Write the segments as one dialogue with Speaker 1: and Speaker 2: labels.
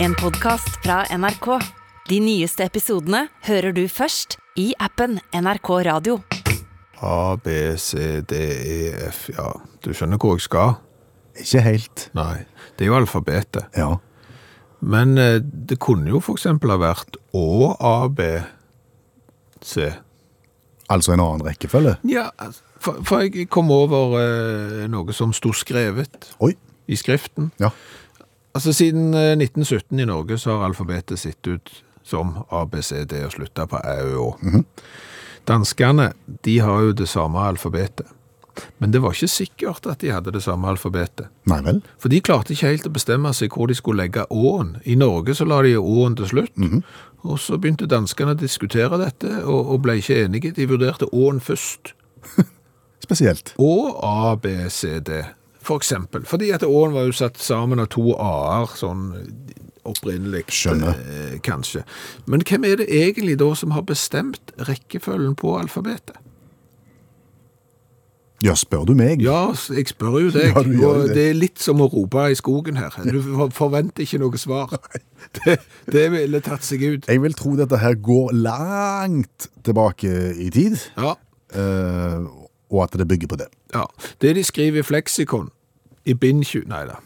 Speaker 1: En podcast fra NRK. De nyeste episodene hører du først i appen NRK Radio.
Speaker 2: A, B, C, D, E, F Ja, du skjønner hvor jeg skal?
Speaker 3: Ikke helt.
Speaker 2: Nei, det er jo alfabetet.
Speaker 3: Ja.
Speaker 2: Men eh, det kunne jo for eksempel ha vært Å, A, B, C.
Speaker 3: Altså en annen rekkefølge.
Speaker 2: Ja, for, for jeg kom over eh, noe som sto skrevet
Speaker 3: Oi.
Speaker 2: i skriften.
Speaker 3: Ja.
Speaker 2: Altså siden eh, 1917 i Norge så har alfabetet sett ut som A, B, C, D og slutta på Æ, Ø, Å. Danskene, de har jo det samme alfabetet. Men det var ikke sikkert at de hadde det samme alfabetet.
Speaker 3: Nei vel.
Speaker 2: For de klarte ikke helt å bestemme seg hvor de skulle legge åen. I Norge så la de åen til slutt, og så begynte danskene å diskutere dette, og, og ble ikke enige. De vurderte åen først.
Speaker 3: Spesielt.
Speaker 2: Å, A, B, C, D, for eksempel. Fordi at åen var jo satt sammen av to A-er, sånn opprinnelig.
Speaker 3: Skjønner.
Speaker 2: Eh, kanskje. Men hvem er det egentlig da som har bestemt rekkefølgen på alfabetet?
Speaker 3: Ja, spør du meg?
Speaker 2: Ja, s- jeg spør jo deg.
Speaker 3: Ja, du gjør jo
Speaker 2: og
Speaker 3: det.
Speaker 2: det er litt som å rope i skogen her. Du for- forventer ikke noe svar. Det, det ville tatt seg ut.
Speaker 3: Jeg vil tro dette her går langt tilbake i tid,
Speaker 2: Ja,
Speaker 3: eh, og at det bygger på det.
Speaker 2: ja. Det de skriver i Fleksikon, i bind 20 Nei da.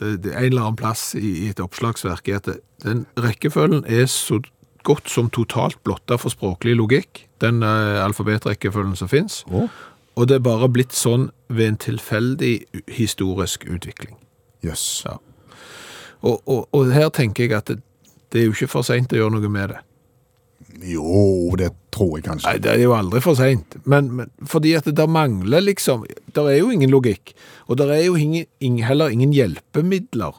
Speaker 2: Det, det er en eller annen plass i, i et oppslagsverk er at det- den rekkefølgen er så godt som totalt blotta for språklig logikk, den eh, alfabetrekkefølgen som fins. Og det er bare blitt sånn ved en tilfeldig historisk utvikling.
Speaker 3: Jøss.
Speaker 2: Ja. Og, og, og her tenker jeg at det, det er jo ikke for seint å gjøre noe med det.
Speaker 3: Jo, det tror jeg kanskje.
Speaker 2: Nei, det er jo aldri for seint. Men, men fordi at det der mangler liksom Der er jo ingen logikk. Og der er jo ingen, ing- heller ingen hjelpemidler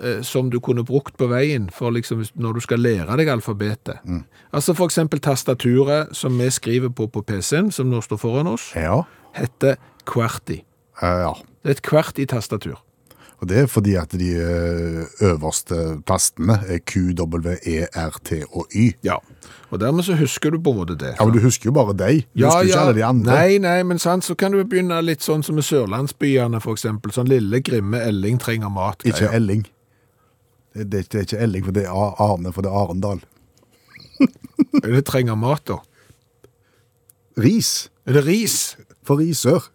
Speaker 2: eh, som du kunne brukt på veien for liksom hvis- når du skal lære deg alfabetet.
Speaker 3: Mm.
Speaker 2: Altså for eksempel tastaturet som vi skriver på på PC-en, som nå står foran oss,
Speaker 3: Ja.
Speaker 2: heter QWERTY.
Speaker 3: Eh, ja.
Speaker 2: Det er et QWERTY-tastatur.
Speaker 3: Og det er fordi at de eh, øverste tastene er Q, W, E, R, T og Y.
Speaker 2: Ja. Og dermed så husker du på en måte det.
Speaker 3: Ja, men du husker jo bare deg. Du
Speaker 2: Ja,
Speaker 3: husker
Speaker 2: ja.
Speaker 3: jo ikke alle de andre.
Speaker 2: Nei, nei, men sant, så kan du begynne litt sånn som i sørlandsbyene, for eksempel. Sånn lille, grimme Elling trenger mat.
Speaker 3: Ikke
Speaker 2: greier.
Speaker 3: Elling. Det, det, er ikke- det er ikke Elling, for det er A- Arne, for det er Arendal.
Speaker 2: Eller trenger mat, da.
Speaker 3: Ris.
Speaker 2: Er det ris?
Speaker 3: For risør.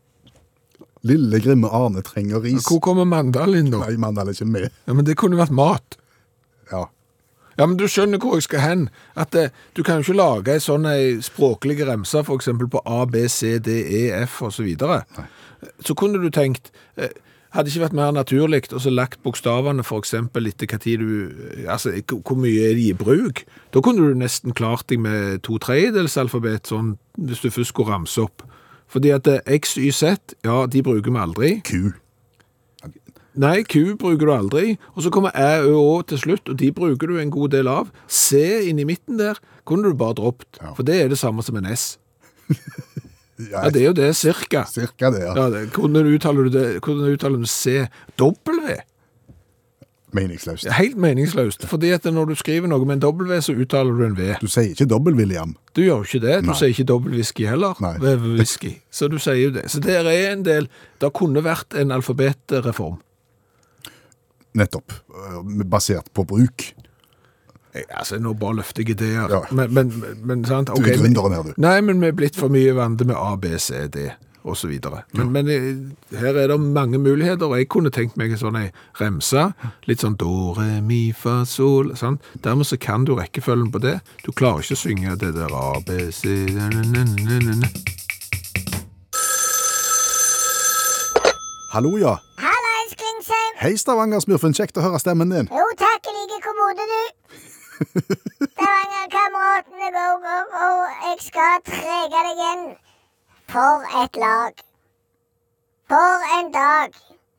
Speaker 3: Lille grimme Arne trenger ris.
Speaker 2: Hvor kommer mandal inn, da?
Speaker 3: Nei, mann, han er ikke med.
Speaker 2: Ja, men det kunne vært mat.
Speaker 3: Ja.
Speaker 2: Ja, men du skjønner hvor jeg skal hen. At eh, du kan jo ikke lage ei sånn ei språklig remse, for eksempel på A, B, C, D, E, F osv. Så kunne du tenkt eh, Hadde ikke vært mer naturlig å så lagt bokstavene f.eks. etter hva tid du Altså k- hvor mye er de i bruk? Da kunne du nesten klart deg med to tredjedels alfabet, sånn hvis du først skulle ramse opp. Fordi at eh, X, Y, Z, ja, de bruker vi aldri.
Speaker 3: Ku.
Speaker 2: Nei, Q bruker du aldri. Og så kommer Æ, Ø, Å til slutt, og de bruker du en god del av. C inn i midten der kunne du bare droppet,
Speaker 3: Ja.
Speaker 2: for det er det samme som en S.
Speaker 3: Ja,
Speaker 2: Ja, det er jo det, cirka.
Speaker 3: Cirka det, ja.
Speaker 2: Ja, det, hvordan uttaler du det? Hvordan uttaler du C? W?
Speaker 3: Meningsløst.
Speaker 2: Helt meningsløst, fordi at når du skriver noe med en W, så uttaler du en V.
Speaker 3: Du sier ikke dobbel, William.
Speaker 2: Du gjør jo ikke det. Du
Speaker 3: Nei.
Speaker 2: sier ikke dobbelt whisky heller.
Speaker 3: Nei.
Speaker 2: Det er Whisky. Så du sier jo det. Så der er en del Det kunne vært en alfabetreform.
Speaker 3: Nettopp. Eh, Basert på bruk.
Speaker 2: Jeg- Altså, nå bare løfter jeg ideer.
Speaker 3: Ja.
Speaker 2: Men, men, men, men sant?
Speaker 3: Du er
Speaker 2: ok, men-
Speaker 3: gründeren her, du.
Speaker 2: Nei, men vi er blitt for mye vante med A, B, C, D og så videre. Men, men eh, her er det mange muligheter, og jeg kunne tenkt meg en sånn ei remse, litt sånn do, re, mi, fa, sol, sant? Dermed så kan du rekkefølgen på det. Du klarer ikke å synge det der A, B, C, na, na, na, na, na.
Speaker 3: Hallo, ja.
Speaker 4: Hallais, Klingsheim.
Speaker 3: Hei, Stavanger-smurfen. Kjekt å høre stemmen din.
Speaker 4: Jo takk, i like kommode, du. Stavangerkameratene go, go, go. Jeg skal trege deg igjen. For et lag. For en dag.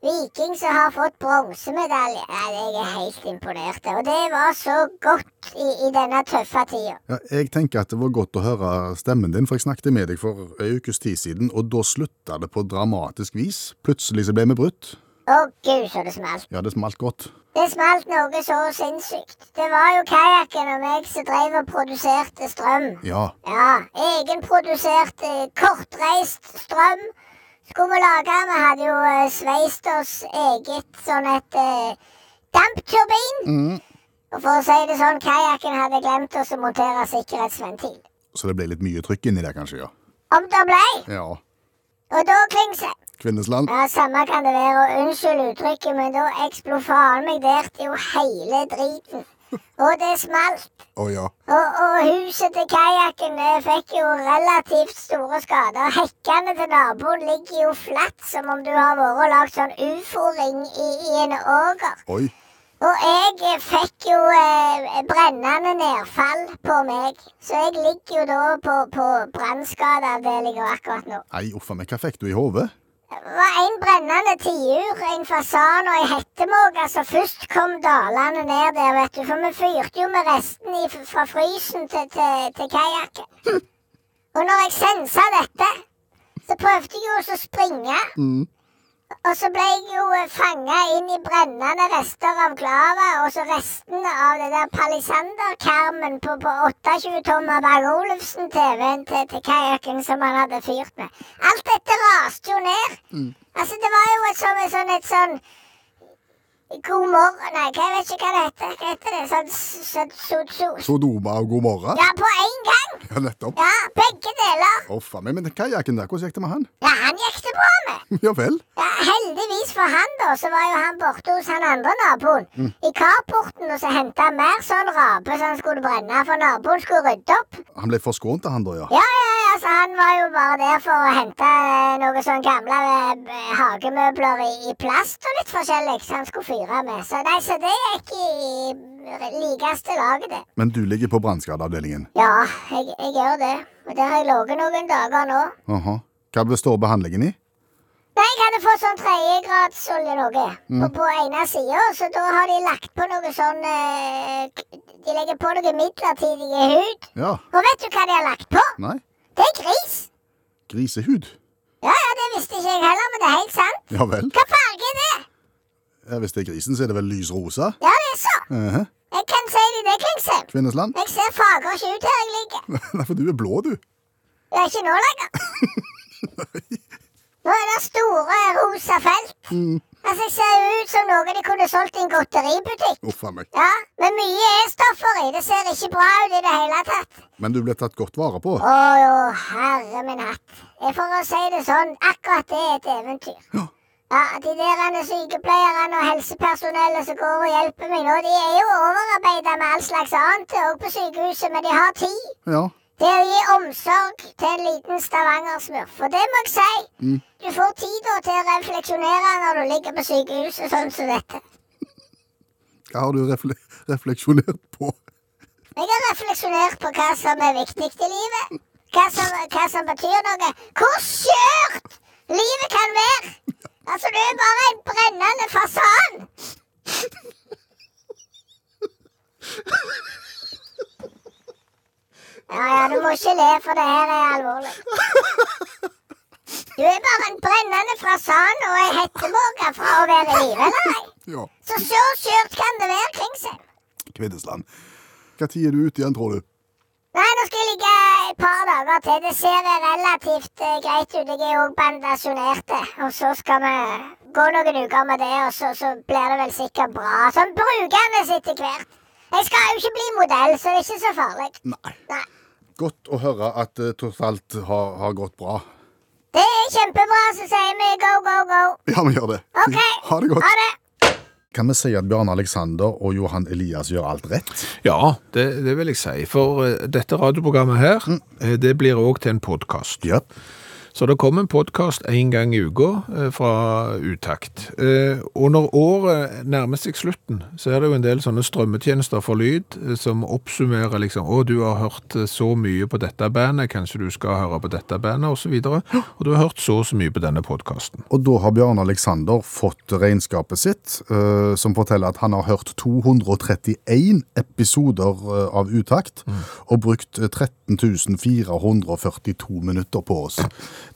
Speaker 4: Viking som har fått bronsemedalje. Nei, Jeg er helt imponert. Og det var så godt i, i denne tøffe tida.
Speaker 3: Ja, jeg tenker at det var godt å høre stemmen din, for jeg snakket med deg for en ukes tid siden, og da slutta det på dramatisk vis. Plutselig så ble vi brutt.
Speaker 4: Å gud, så det smalt.
Speaker 3: Ja, det smalt godt.
Speaker 4: Det smalt noe så sinnssykt. Det var jo kajakken og meg som drev og produserte strøm.
Speaker 3: Ja.
Speaker 4: Ja, egenprodusert eh, kortreist strøm skulle vi lage. Vi hadde jo eh, sveist oss eget sånn et eh, dampturbin. Og for å si det sånn, kajakken hadde glemt å montere sikkerhetsventil.
Speaker 3: Så det ble litt mye trykk inni der, kanskje, ja.
Speaker 4: Om det blei!
Speaker 3: Ja.
Speaker 4: Og da, Klingse
Speaker 3: Kvinnesland.
Speaker 4: Ja, samme kan det være, og unnskyld uttrykket, men da eksplofaren meg derte jo hele driten. Og det smalt.
Speaker 3: Å ja.
Speaker 4: Og, og huset til kajakken eh, fikk jo relativt store skader. Hekkene til naboen ligger jo flatt, som om du har vært og lagd sånn ufo-ring i, i en åger.
Speaker 3: Oi.
Speaker 4: Og jeg eh, fikk jo eh, brennende nedfall på meg, så jeg ligger jo da på, på brannskadeavdelinga akkurat nå.
Speaker 3: Nei, uff a meg, hva fikk du i hodet?
Speaker 4: Det var en brennende tiur, en fasan og ei hettemåke som først kom dalende ned der, vet du. For vi fyrte jo med resten i, fra frysen til, til, til kajakken. Og når jeg sensa dette, så prøvde jeg jo også å springe. Og så ble jeg jo fanga inn i brennende rester av glava, og så restene av det der palisanderkarmen på, på 28 tommer Bang Olufsen-TV-en til, til kajakken som han hadde fyrt med. Alt dette raste jo ned. Altså, det var jo et sånn et sånn, et sånn God morgen Nei, jeg vet ikke hva det heter. Hva heter det? Sånn s- sånn sot-sot?
Speaker 3: Sodoma og god morgen?
Speaker 4: Ja, på én gang!
Speaker 3: Ja, nettopp.
Speaker 4: Ja, begge deler.
Speaker 3: Uff a meg, men den kajakken der, hvordan gikk det med han?
Speaker 4: Ja, han gikk det bra med.
Speaker 3: Ja vel?
Speaker 4: Ja, heldigvis for han, da, så var jo han borte hos han andre naboen. I carporten, og så henta han mer sånn rape som han skulle brenne, for naboen skulle rydde opp.
Speaker 3: Han ble forskånt av han da, ja.
Speaker 4: Ja, ja, ja, så han var jo bare der for å hente eh, noe sånn gamle eh, hagemøbler i, i plast og litt forskjellig som han skulle fyre med. Så nei, så det gikk i, i likeste laget, det.
Speaker 3: Men du ligger på brannskadeavdelingen.
Speaker 4: Ja, jeg, jeg gjør det. Og der har jeg ligget noen dager nå.
Speaker 3: Aha. Hva består behandlingen i?
Speaker 4: Nei, jeg hadde fått sånn tredjegradsolje noe på, på ene sida, så da har de lagt på noe sånn eh, k- De legger på noe midlertidig hud.
Speaker 3: Ja.
Speaker 4: Og vet du hva de har lagt på?
Speaker 3: Nei.
Speaker 4: Det er gris!
Speaker 3: Grisehud.
Speaker 4: Ja, ja, det visste ikke jeg heller, men det er helt sant.
Speaker 3: Ja vel.
Speaker 4: Hva farge er det?
Speaker 3: Ja, hvis det er grisen, så er det vel lysrosa?
Speaker 4: Ja, det er så.
Speaker 3: Ehe.
Speaker 4: Jeg kan si deg det, Klingsheim.
Speaker 3: Kvinnesland?
Speaker 4: Jeg ser fager ikke ut her jeg ligger.
Speaker 3: Nei, for du er blå, du.
Speaker 4: Det er ikke nå lenger. Nå er det store rosa felt. Altså, jeg ser jo ut som noe de kunne solgt i en godteributikk.
Speaker 3: Uff a meg.
Speaker 4: Ja, men mye E-stoffer i. Det ser ikke bra ut i det hele tatt.
Speaker 3: Men du ble tatt godt vare på.
Speaker 4: Å jo, herre min hatt. Jeg får å si det sånn, akkurat det er et eventyr.
Speaker 3: Ja.
Speaker 4: Ja, De der andre sykepleierne og helsepersonellet som går og hjelper meg nå, de er jo overarbeida med all slags annet òg på sykehuset, men de har tid.
Speaker 3: Ja.
Speaker 4: Det å gi omsorg til en liten stavangersmurf. Og det må jeg si. Du får tid da til å refleksjonere når du ligger på sykehuset sånn som dette.
Speaker 3: Hva har du refle refleksjonert på?
Speaker 4: Jeg har refleksjonert på hva som er viktig i livet. Hva som, hva som betyr noe. Hvor skjørt livet kan være! Altså, du er bare en brennende fasan! Ja, ja, du må ikke le, for det her er alvorlig. Du er bare en brennende fasan og ei hettemåke fra å være i live, eller ei?
Speaker 3: Ja.
Speaker 4: Så så skjørt kan det være kring seg.
Speaker 3: Kvinnesland. Hva tid er du ute igjen, tror du?
Speaker 4: Nei, nå skal jeg ligge et par dager til. Det ser relativt eh, greit ut. Jeg er òg bandasjonert. eh, Og så skal vi gå noen uker med det, og så, så blir det vel sikkert bra. Sånn brukende etter hvert. Jeg skal jo ikke bli modell, så det er ikke så farlig.
Speaker 3: Nei.
Speaker 4: Nei.
Speaker 3: Godt å høre at det tross alt har, har gått bra.
Speaker 4: Det er kjempebra, så sier vi go, go, go.
Speaker 3: Ja, vi gjør det.
Speaker 4: OK.
Speaker 3: Ha det godt.
Speaker 4: Ha det.
Speaker 3: Kan vi si at Bjarne Alexander og Johan Elias gjør alt rett?
Speaker 2: Ja, det, det vil jeg si. For eh, dette radioprogrammet her, eh, det blir òg til en podkast.
Speaker 3: Ja.
Speaker 2: Så det kommer en podkast én gang i uka eh, fra Utakt. Eh, Og når året nærmer seg slutten, så er det jo en del sånne strømmetjenester for lyd eh, som oppsummerer liksom Å, du har hørt eh, så mye på dette bandet, kanskje du skal høre på dette bandet, osv. Og, og du har hørt så og så mye på denne podkasten.
Speaker 3: Og da har Bjarne Alexander fått regnskapet sitt, eh, som forteller at han har hørt 231 episoder eh, av Utakt, og brukt eh, 13 442 minutter på oss.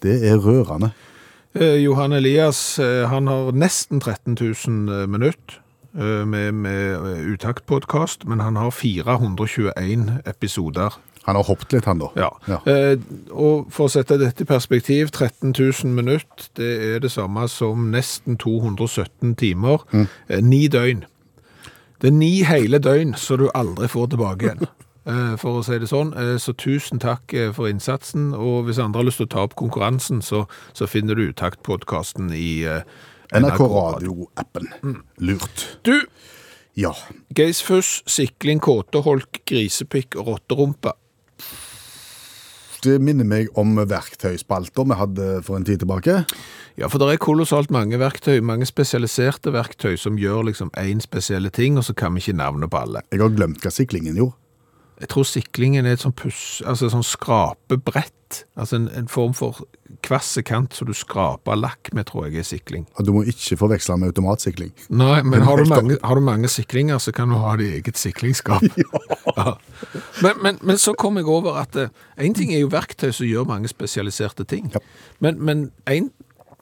Speaker 3: Det er rørende.
Speaker 2: Eh, Johan Elias eh, han har nesten 13 000 minutt eh, med, med eh, utaktpodkast, men han har 421 episoder.
Speaker 3: Han har hoppet litt, han da.
Speaker 2: Ja. Eh, og for å sette dette i perspektiv, 13 000 minutt det er det samme som nesten 217 timer. Eh, ni døgn. Det er ni hele døgn som du aldri får tilbake igjen. eh, For å si det sånn. Eh, Så tusen takk eh, for innsatsen. Og hvis andre har lyst til å ta opp konkurransen, så, så finner du Utaktpodkasten i eh,
Speaker 3: NRK Radio-appen. Lurt.
Speaker 2: Du,
Speaker 3: Ja.
Speaker 2: Geisfuss, sikling, kåteholk, grisepikk og rotterumpe.
Speaker 3: Det minner meg om verktøyspalter vi hadde for en tid tilbake.
Speaker 2: Ja, for det er kolossalt mange verktøy, mange spesialiserte verktøy som gjør liksom én spesielle ting, og så kan vi ikke navnet på alle.
Speaker 3: Jeg har glemt hva siklingen gjorde.
Speaker 2: Jeg tror siklingen er et sånn puss, altså et sånn skrapebrett, altså en, en form for kvasse kant som du skraper lakk med, tror jeg er sikling.
Speaker 3: Og Du må ikke forveksle med automatsikling.
Speaker 2: Nei, men har du,
Speaker 3: helt
Speaker 2: mange, har du mange siklinger, så kan du ha det i eget siklingsskap. Ja. Men, men, men så kom jeg over at én ting er jo verktøy som gjør mange spesialiserte ting,
Speaker 3: Ja.
Speaker 2: men, men en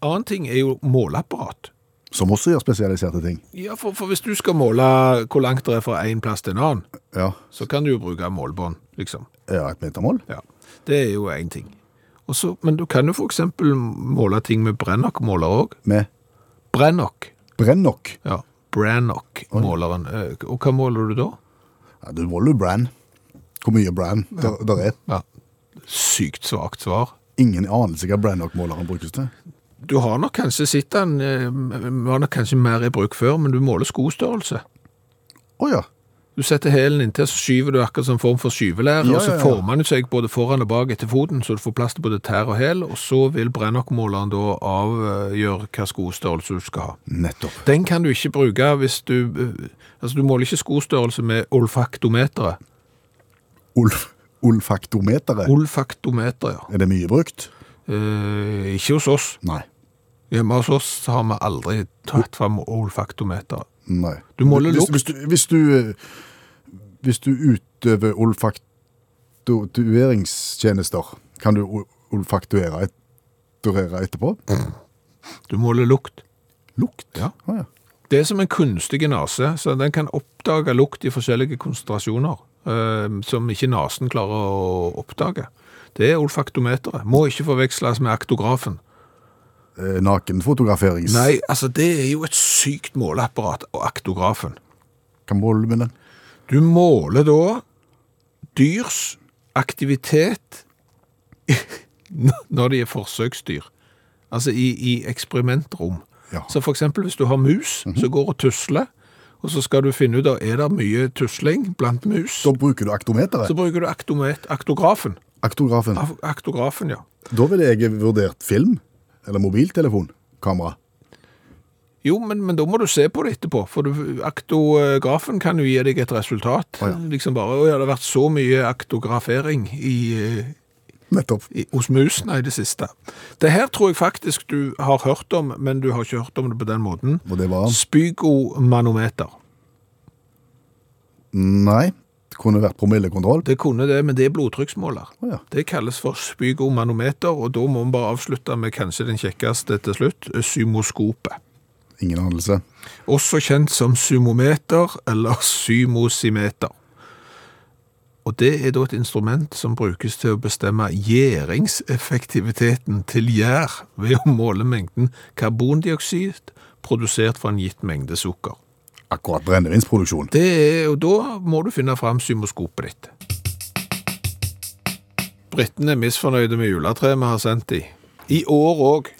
Speaker 2: annen ting er jo måleapparat.
Speaker 3: Som også gjør spesialiserte ting.
Speaker 2: Ja, for, for hvis du skal måle hvor langt det er fra én plass til en annen,
Speaker 3: Ja,
Speaker 2: så kan du jo bruke målbånd, liksom.
Speaker 3: ja et metermål.
Speaker 2: Ja, Det er jo én ting. Og så- men du kan jo f.eks. måle ting med Brennock-måler òg.
Speaker 3: Med
Speaker 2: Brennock.
Speaker 3: brennokk.
Speaker 2: Ja. Brannock-måleren. Eh, Og hva måler du da?
Speaker 3: Ja, du måler jo brann. Hvor mye brann der, der er.
Speaker 2: Ja. Sykt svakt svar.
Speaker 3: Ingen anelse hva brennokk-måleren brukes til.
Speaker 2: Du har nok kanskje sett den, eh, var nok kanskje mer i bruk før, men du måler skostørrelse.
Speaker 3: Å ja.
Speaker 2: Du setter hælen inntil, så skyver du akkurat som en form for skyvelær,
Speaker 3: Ja,
Speaker 2: og så
Speaker 3: ja, ja.
Speaker 2: former den seg både foran og bak etter foten, så du får plass til både tær og hæl, og så vil brennokmåleren da avgjøre hva skostørrelse du skal ha.
Speaker 3: Nettopp.
Speaker 2: Den kan du ikke bruke hvis du eh, Altså, du måler ikke skostørrelse med olfaktometeret.
Speaker 3: Ulf, olfaktometeret.
Speaker 2: Olfaktometer, ja.
Speaker 3: er det mye brukt?
Speaker 2: Eh, ikke hos oss.
Speaker 3: Nei.
Speaker 2: Hjemme hos oss har vi aldri tatt fram olfaktometeret.
Speaker 3: Nei.
Speaker 2: Du måler
Speaker 3: hvis,
Speaker 2: lukt.
Speaker 3: hvis, du, hvis, du, eh, hvis du utøver olfaktueringstjenester, kan du ol- olfaktuere et, durere etterpå?
Speaker 2: Du måler lukt. Lukt? Ja.
Speaker 3: Å ja.
Speaker 2: Det er som en kunstig nase, så den kan oppdage lukt i forskjellige konsentrasjoner eh, som ikke nasen klarer å oppdage. Det er olfaktometeret. Må ikke forveksles med aktografen.
Speaker 3: Eh, Nakenfotograferings...
Speaker 2: Nei, altså det er jo et sykt måleapparat, og aktografen.
Speaker 3: Hva måler du med den?
Speaker 2: Du måler da dyrs aktivitet når de er forsøksdyr. Altså i, i eksperimentrom.
Speaker 3: Ja. Mhm.
Speaker 2: Så for eksempel hvis du har mus som går og tusler, og så skal du finne ut av er det mye tusling blant mus,
Speaker 3: Da bruker du aktometeret.
Speaker 2: så Ah. bruker du aktomet, aktografen.
Speaker 3: Aktografen.
Speaker 2: Af- Aktografen, ja.
Speaker 3: Da ville jeg vurdert film eller mobiltelefon. Kamera.
Speaker 2: Jo, men, men da må du se på det etterpå, for du, aktografen kan jo gi deg et resultat.
Speaker 3: Å, ja.
Speaker 2: Liksom bare, «Å, ja, det har vært så mye aktografering i, eh,
Speaker 3: Nettopp.
Speaker 2: i, hos musene i det siste. Det her tror jeg faktisk du har hørt om, men du har ikke hørt om det på den måten.
Speaker 3: Og det var
Speaker 2: Spygomanometer.
Speaker 3: Nei. Det kunne vært promillekontroll.
Speaker 2: Det kunne det, men det er blodtrykksmåler.
Speaker 3: Å, ja.
Speaker 2: Det kalles for spygomanometer, og da må vi bare avslutte med kanskje den kjekkeste til slutt, eh, symoskopet.
Speaker 3: Ingen anelse.
Speaker 2: Også kjent som symometer eller symosimeter. Og det er da et instrument som brukes til å bestemme gjæringseffektiviteten til gjær ved å måle mengden karbondioksid produsert fra en gitt mengde sukker.
Speaker 3: Akkurat brennevinsproduksjon.
Speaker 2: Det er, og da må du finne fram symoskopet ditt. Britene er misfornøyde med juletreet vi har sendt de. I år òg.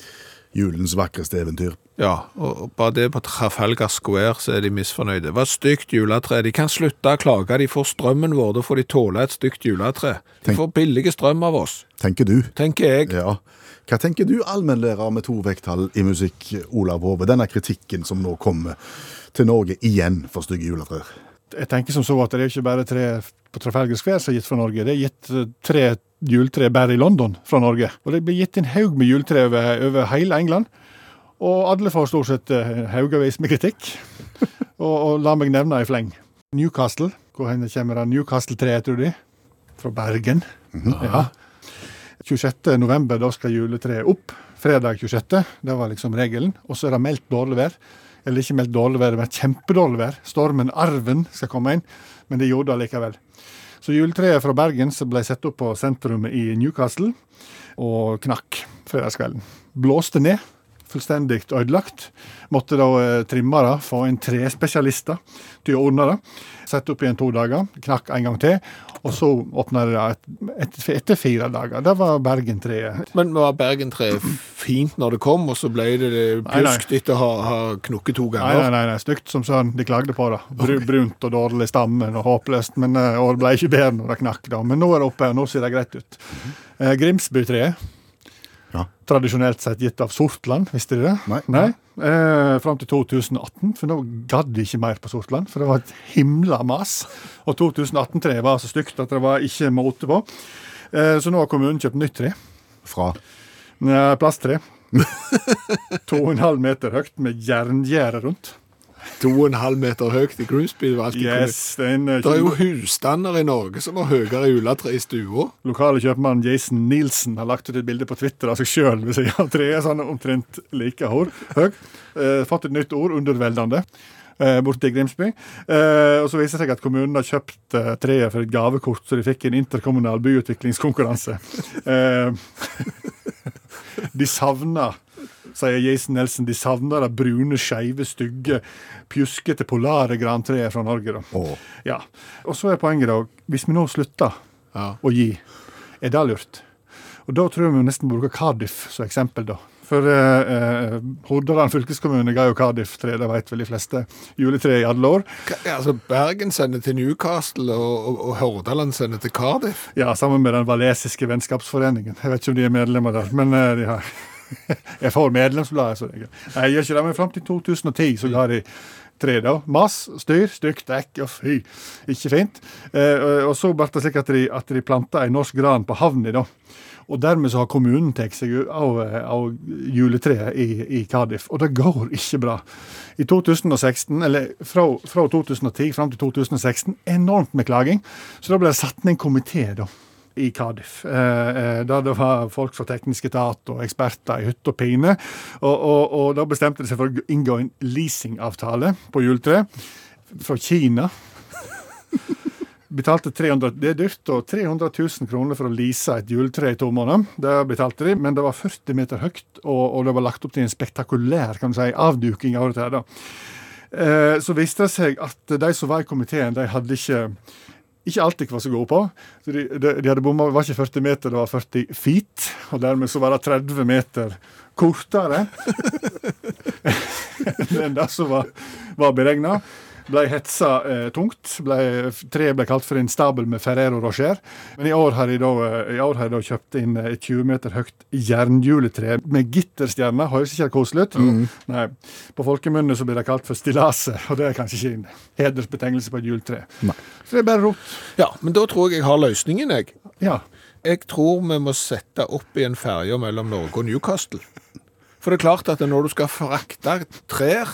Speaker 3: Julens vakreste eventyr.
Speaker 2: Ja, og bare det på Trafalgar Square så er de misfornøyde. Hva stygt juletre. De kan slutte å klage, de får strømmen vår, da får de tåle et stygt juletre. De
Speaker 3: Tenk-
Speaker 2: får billig strøm av oss,
Speaker 3: Tenker du?
Speaker 2: tenker jeg.
Speaker 3: Ja. Hva tenker du, allmennlærer med to vekttall i musikk, Olav Hove? Denne kritikken som nå kommer til Norge igjen for stygge juletrær.
Speaker 5: Jeg tenker som så at det er ikke bare tre på Trafalgar Square som er gitt fra Norge. Det er gitt eh, tre juletre bare i London fra Norge. Og det blir gitt en haug med juletre over, over hele England. Og alle får stort sett eh, haugavis med kritikk. og, og la meg nevne i fleng. Newcastle. Hvor hen kommer det Newcastle-treet, tror du? Fra Bergen. ja. 26. november, da skal juletreet opp. Fredag 26. Det var liksom regelen. Og så er det meldt dårlig vær. Eller ikke meldt dårlig vær, men kjempedårlig vær. Stormen Arven skal komme inn, men det gjorde det likevel. Så juletreet fra Bergen som ble satt opp på sentrumet i Newcastle, og knakk fredagskvelden. Blåste ned. fullstendig ødelagt. Måtte da eh, trimmere få inn tre spesialister til å ordne det. Sette opp igjen to dager, knakk en gang til, og så åpna det et, et, etter fire dager. Der var Bergentreet.
Speaker 2: Men var Bergentreet fint når det kom, og så ble det
Speaker 5: Nei, nei.
Speaker 2: pjusk etter å ha, ha knukket to
Speaker 5: Nei, nei,
Speaker 2: ganger?
Speaker 5: nei, nei, stygt som sønn. De klagde på det. Bru, brunt og dårlig stammen og håpløst. Men eh, og det ble ikke bedre når det knakk, da. Men nå er det oppe, og nå ser det greit ut. Eh, Grimsbytreet.
Speaker 3: Ja.
Speaker 5: Tradisjonelt sett gitt av Sortland, visste dere det?
Speaker 3: Nei.
Speaker 5: Eh, Fram til 2018, for nå gadd de ikke mer på Sortland. For det var et himla mas. Og 2018-treet var så stygt at det var ikke måte på. Eh, så nå har kommunen kjøpt nytt tre.
Speaker 3: Fra
Speaker 5: Nei, plasttre. 2,5 meter høyt med jerngjerde rundt.
Speaker 2: To og en halv meter høyt i Grimsby. Det, var alltid kunne-
Speaker 5: Yes, det er en eh,
Speaker 2: det er jo husstander i Norge som har høyere juletre i stua.
Speaker 5: lokale kjøpmannen Jason Nielsen har lagt ut et bilde på Twitter av seg sjøl ved siden av treet, så han er omtrent like hår, høy. Eh, fått et nytt ord, underveldende, eh, borte i Grimsby. Eh, og så viser det seg at kommunen har kjøpt eh, treet for et gavekort, så de fikk en interkommunal byutviklingskonkurranse. Eh, de savna Sier Jason Nelson de savner det brune, skeive, stygge, pjuskete polare grantreet fra Norge. da.
Speaker 3: Å.
Speaker 5: Ja. Og så er poenget, da, hvis vi nå slutter
Speaker 2: Ja.
Speaker 5: å gi, er det lurt? Og da tror jeg vi nesten bruker Cardiff som eksempel, da. For eh, eh, Hordaland fylkeskommune ga jo Cardiff-tre, det vet vel de fleste, juletre i alle år.
Speaker 2: Ka- Altså, Bergen sender til Newcastle, og, og, og Hordaland sender til Cardiff.
Speaker 5: Ja, sammen med den valesiske vennskapsforeningen. Jeg vet ikke om de er medlemmer der, men eh, de har Jeg får medlemsbladet, så jeg Nei, jeg gjør ikke det, men fram til 2010 så ga de tre, da. Mas, styr, stygt, ekk og fy. Ikke fint. Eh, og- og så ble det slik at de, at de planta ei norsk gran på havna, da. Og dermed så har kommunen tatt seg ut av, av juletreet i, i Cardiff, og det går ikke bra. I 2016, eller fra, fra 2010 fram til 2016, enormt med klaging. Så da ble det satt ned en komité, da. I Cardiff. Eh, eh, der det var folk fra teknisk etat og eksperter i hytte og pine. Og, og, og da bestemte de seg for å inngå en leasingavtale på juletreet fra Kina betalte 300, det er dyrt, og 300 000 kroner for å lease et juletre i to måneder. Det betalte de, men det var 40 meter høyt, og, og det var lagt opp til en spektakulær kan du si, avduking av dette. her da. Eh, så viste det seg at de som var i komiteen, de hadde ikke ikke alt de var så gode på. Så de, de, de hadde bomma, det var ikke 40 meter, det var 40 feet. Og dermed så var det 30 meter kortere enn det som var, var beregna. Ble hetsa eh, tungt. Ble, treet ble kalt for en stabel med Ferrero Rocher. Men i år har de da, eh, i år har de da kjøpt inn eh, et 20 meter høyt jernhjuletre med gitterstjerne. Høres ikke det koselig ut? Nei. På folkemunne så blir det kalt for stillaset, og det er kanskje ikke en hedersbetegnelse på et juletre. Så det er bare rot.
Speaker 2: Ja, men da tror jeg jeg har løsningen, jeg.
Speaker 5: Ja.
Speaker 2: Jeg tror vi må sette opp i en ferje mellom Norge og Newcastle. For det er klart at når du skal frakte trær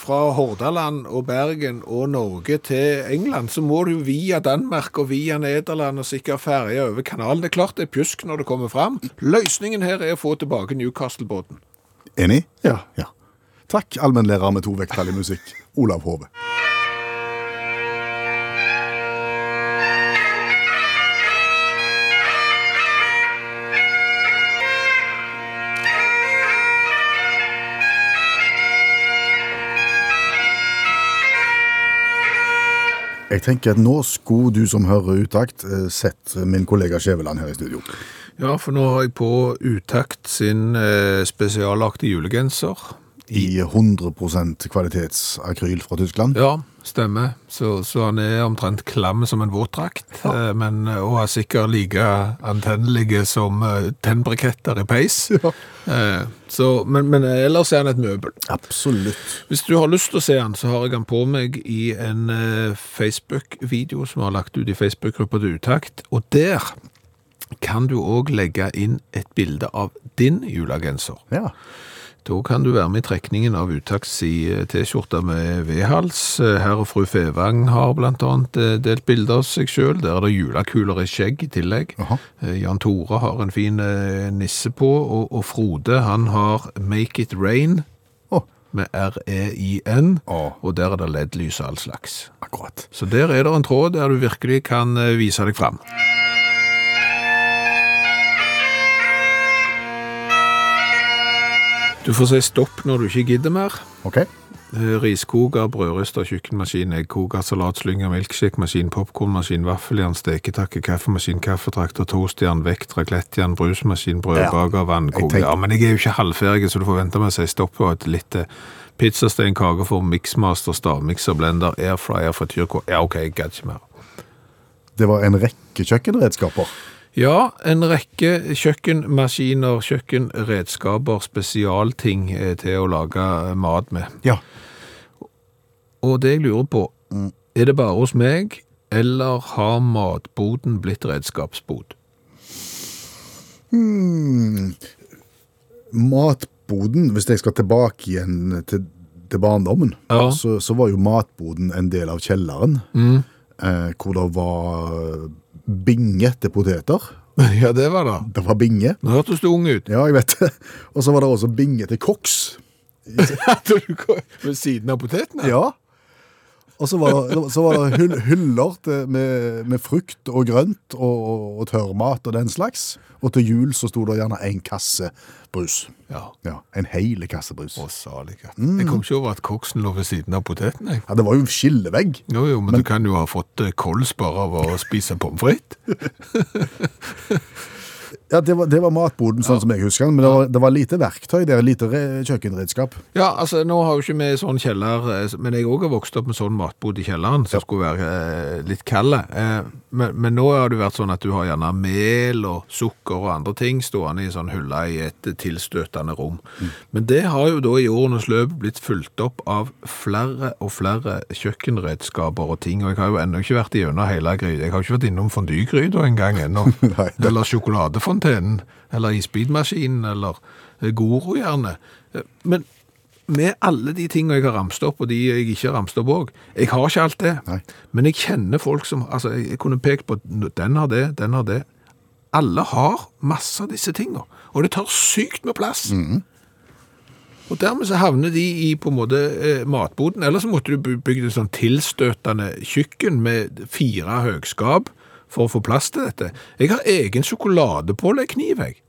Speaker 2: fra Hordaland og Bergen og Norge til England, så må du jo via Danmark og via Nederland og sikkert ferje over kanalen. Det er klart det er pjusk når det kommer fram. Løsningen her er å få tilbake Newcastle-båten.
Speaker 3: Enig?
Speaker 5: ja.
Speaker 3: Ja. Takk, allmennlærer med to vekttall i musikk, Olav Hove. Jeg tenker at nå skulle du som hører utakt, eh, sett min kollega Skjæveland her i studio.
Speaker 2: Ja, for nå har jeg på Utakt sin eh, spesialaktige julegenser.
Speaker 3: I 100 kvalitetsakryl fra Tyskland.
Speaker 2: Ja, stemmer. Så, så han er omtrent klam som en våtdrakt, eh, men og er sikkert like antennelige som eh, tennbriketter i peis. Eh, Så, men, men ellers er han et møbel.
Speaker 3: Absolutt.
Speaker 2: Hvis du har lyst til å se han, så har jeg han på meg i en eh, Facebook-video som jeg har lagt ut i Facebook-gruppa til Utakt, og der kan du òg legge inn et bilde av din julegenser.
Speaker 3: Ja.
Speaker 2: Da kan du være med i trekningen av Utakts i T-skjorte med V-hals. Herr og fru Fevang har blant annet eh, delt bilder av seg sjøl. Der er det julekuler i skjegg i tillegg.
Speaker 3: Aha.
Speaker 2: Eh, Jan Tore har en fin eh, nisse på, og, og Frode han har Make It Rain
Speaker 3: Å,
Speaker 2: med R-E-I-N,
Speaker 3: Å.
Speaker 2: og der er det LED-lys og all slags.
Speaker 3: akkurat.
Speaker 2: Så der er det en tråd der du virkelig kan eh, vise deg fram. Du får si stopp når du ikke gidder mer.
Speaker 3: OK?
Speaker 2: Eh, Riskoker, brødrister, kjøkkenmaskin, eggkoker, salatslynge, milkshakemaskin, popkornmaskin, vaffeljern, steketakke, kaffemaskin, kaffetrakter, toastjern, vekt, raclettejern, brusmaskin, brødbaker,
Speaker 3: Jeg
Speaker 2: vannkoker.
Speaker 3: tenker-
Speaker 2: Ja, men jeg er jo ikke halvferdig, så du får vente med å si stopp og et litt til. Pizzastein, kakeform, miksmaster, stavmikser, blender, airfryer, frityrkål. Ja, OK, jeg gadd ikke mer.
Speaker 3: Det var en rekke kjøkkenredskaper.
Speaker 2: Ja, en rekke kjøkkenmaskiner, kjøkkenredskaper, spesialting eh, til å lage eh, mat med.
Speaker 3: Ja.
Speaker 2: Og det jeg lurer på, mm, er det bare hos meg, eller har matboden blitt redskapsbod?
Speaker 3: Hmm. Matboden, hvis jeg skal tilbake igjen til, til barndommen,
Speaker 2: Ja.
Speaker 3: så, så var jo matboden en del av kjelleren, eh, hvor det var binge til poteter.
Speaker 2: ja, det var det.
Speaker 3: Det var binge.
Speaker 2: Nå hørtes du ung ut.
Speaker 3: Ja, jeg vet det. Og så var det også binge til koks.
Speaker 2: Hadde du gått Ved siden av potetene?
Speaker 3: Ja. Og så var det, så var det hyll, hyller til, med, med frukt og grønt og, og, og tørrmat og den slags. Og til jul så sto det gjerne en kasse brus.
Speaker 2: Ja.
Speaker 3: Ja, en hele kasse brus.
Speaker 2: Å, Mm. salig katt. Jeg kom ikke over at koksen lå ved siden av potetene. jeg.
Speaker 3: Ja, det var jo en skillevegg.
Speaker 2: Jo, jo, men, du kan jo ha fått eh, kols bare av å spise pommes frites.
Speaker 3: Ja, det var, det var matboden, sånn som jeg husker den. Men det var, det var lite verktøy der, lite re kjøkkenredskap.
Speaker 2: Ja, altså nå har jo ikke vi sånn kjeller, eh, men jeg òg har vokst opp med sånn matbod i kjelleren, som skulle være eh, litt kald. Eh, men, men nå har det vært sånn at du har gjerne mel og sukker og andre ting stående i sånn hylle i et tilstøtende rom. Men det har jo da i årenes løp blitt fulgt opp av flere og flere kjøkkenredskaper og ting, og jeg har jo ennå ikke vært igjennom hele gryta. Jeg har ikke vært innom fondygryta engang ennå.
Speaker 3: Nei, det-
Speaker 2: Eller sjokoladefontenen, eller isbitmaskinen, eller eh, Goro gjerne. Eh, Men med alle de tingene jeg har ramst opp, og de jeg ikke har ramst opp òg Jeg har ikke alt det,
Speaker 3: Nei.
Speaker 2: men jeg kjenner folk som Altså, jeg jeg kunne pekt på at den har det, den har det. Alle har masse av disse tingene, og det tar sykt med plass. Og dermed så havner de i på en måte eh, matboden. Ellers så måtte du by- bygge et sånn tilstøtende kjøkken med fire høgskap for å få plass til dette. Jeg har egen sjokoladepåleggkniv, jeg.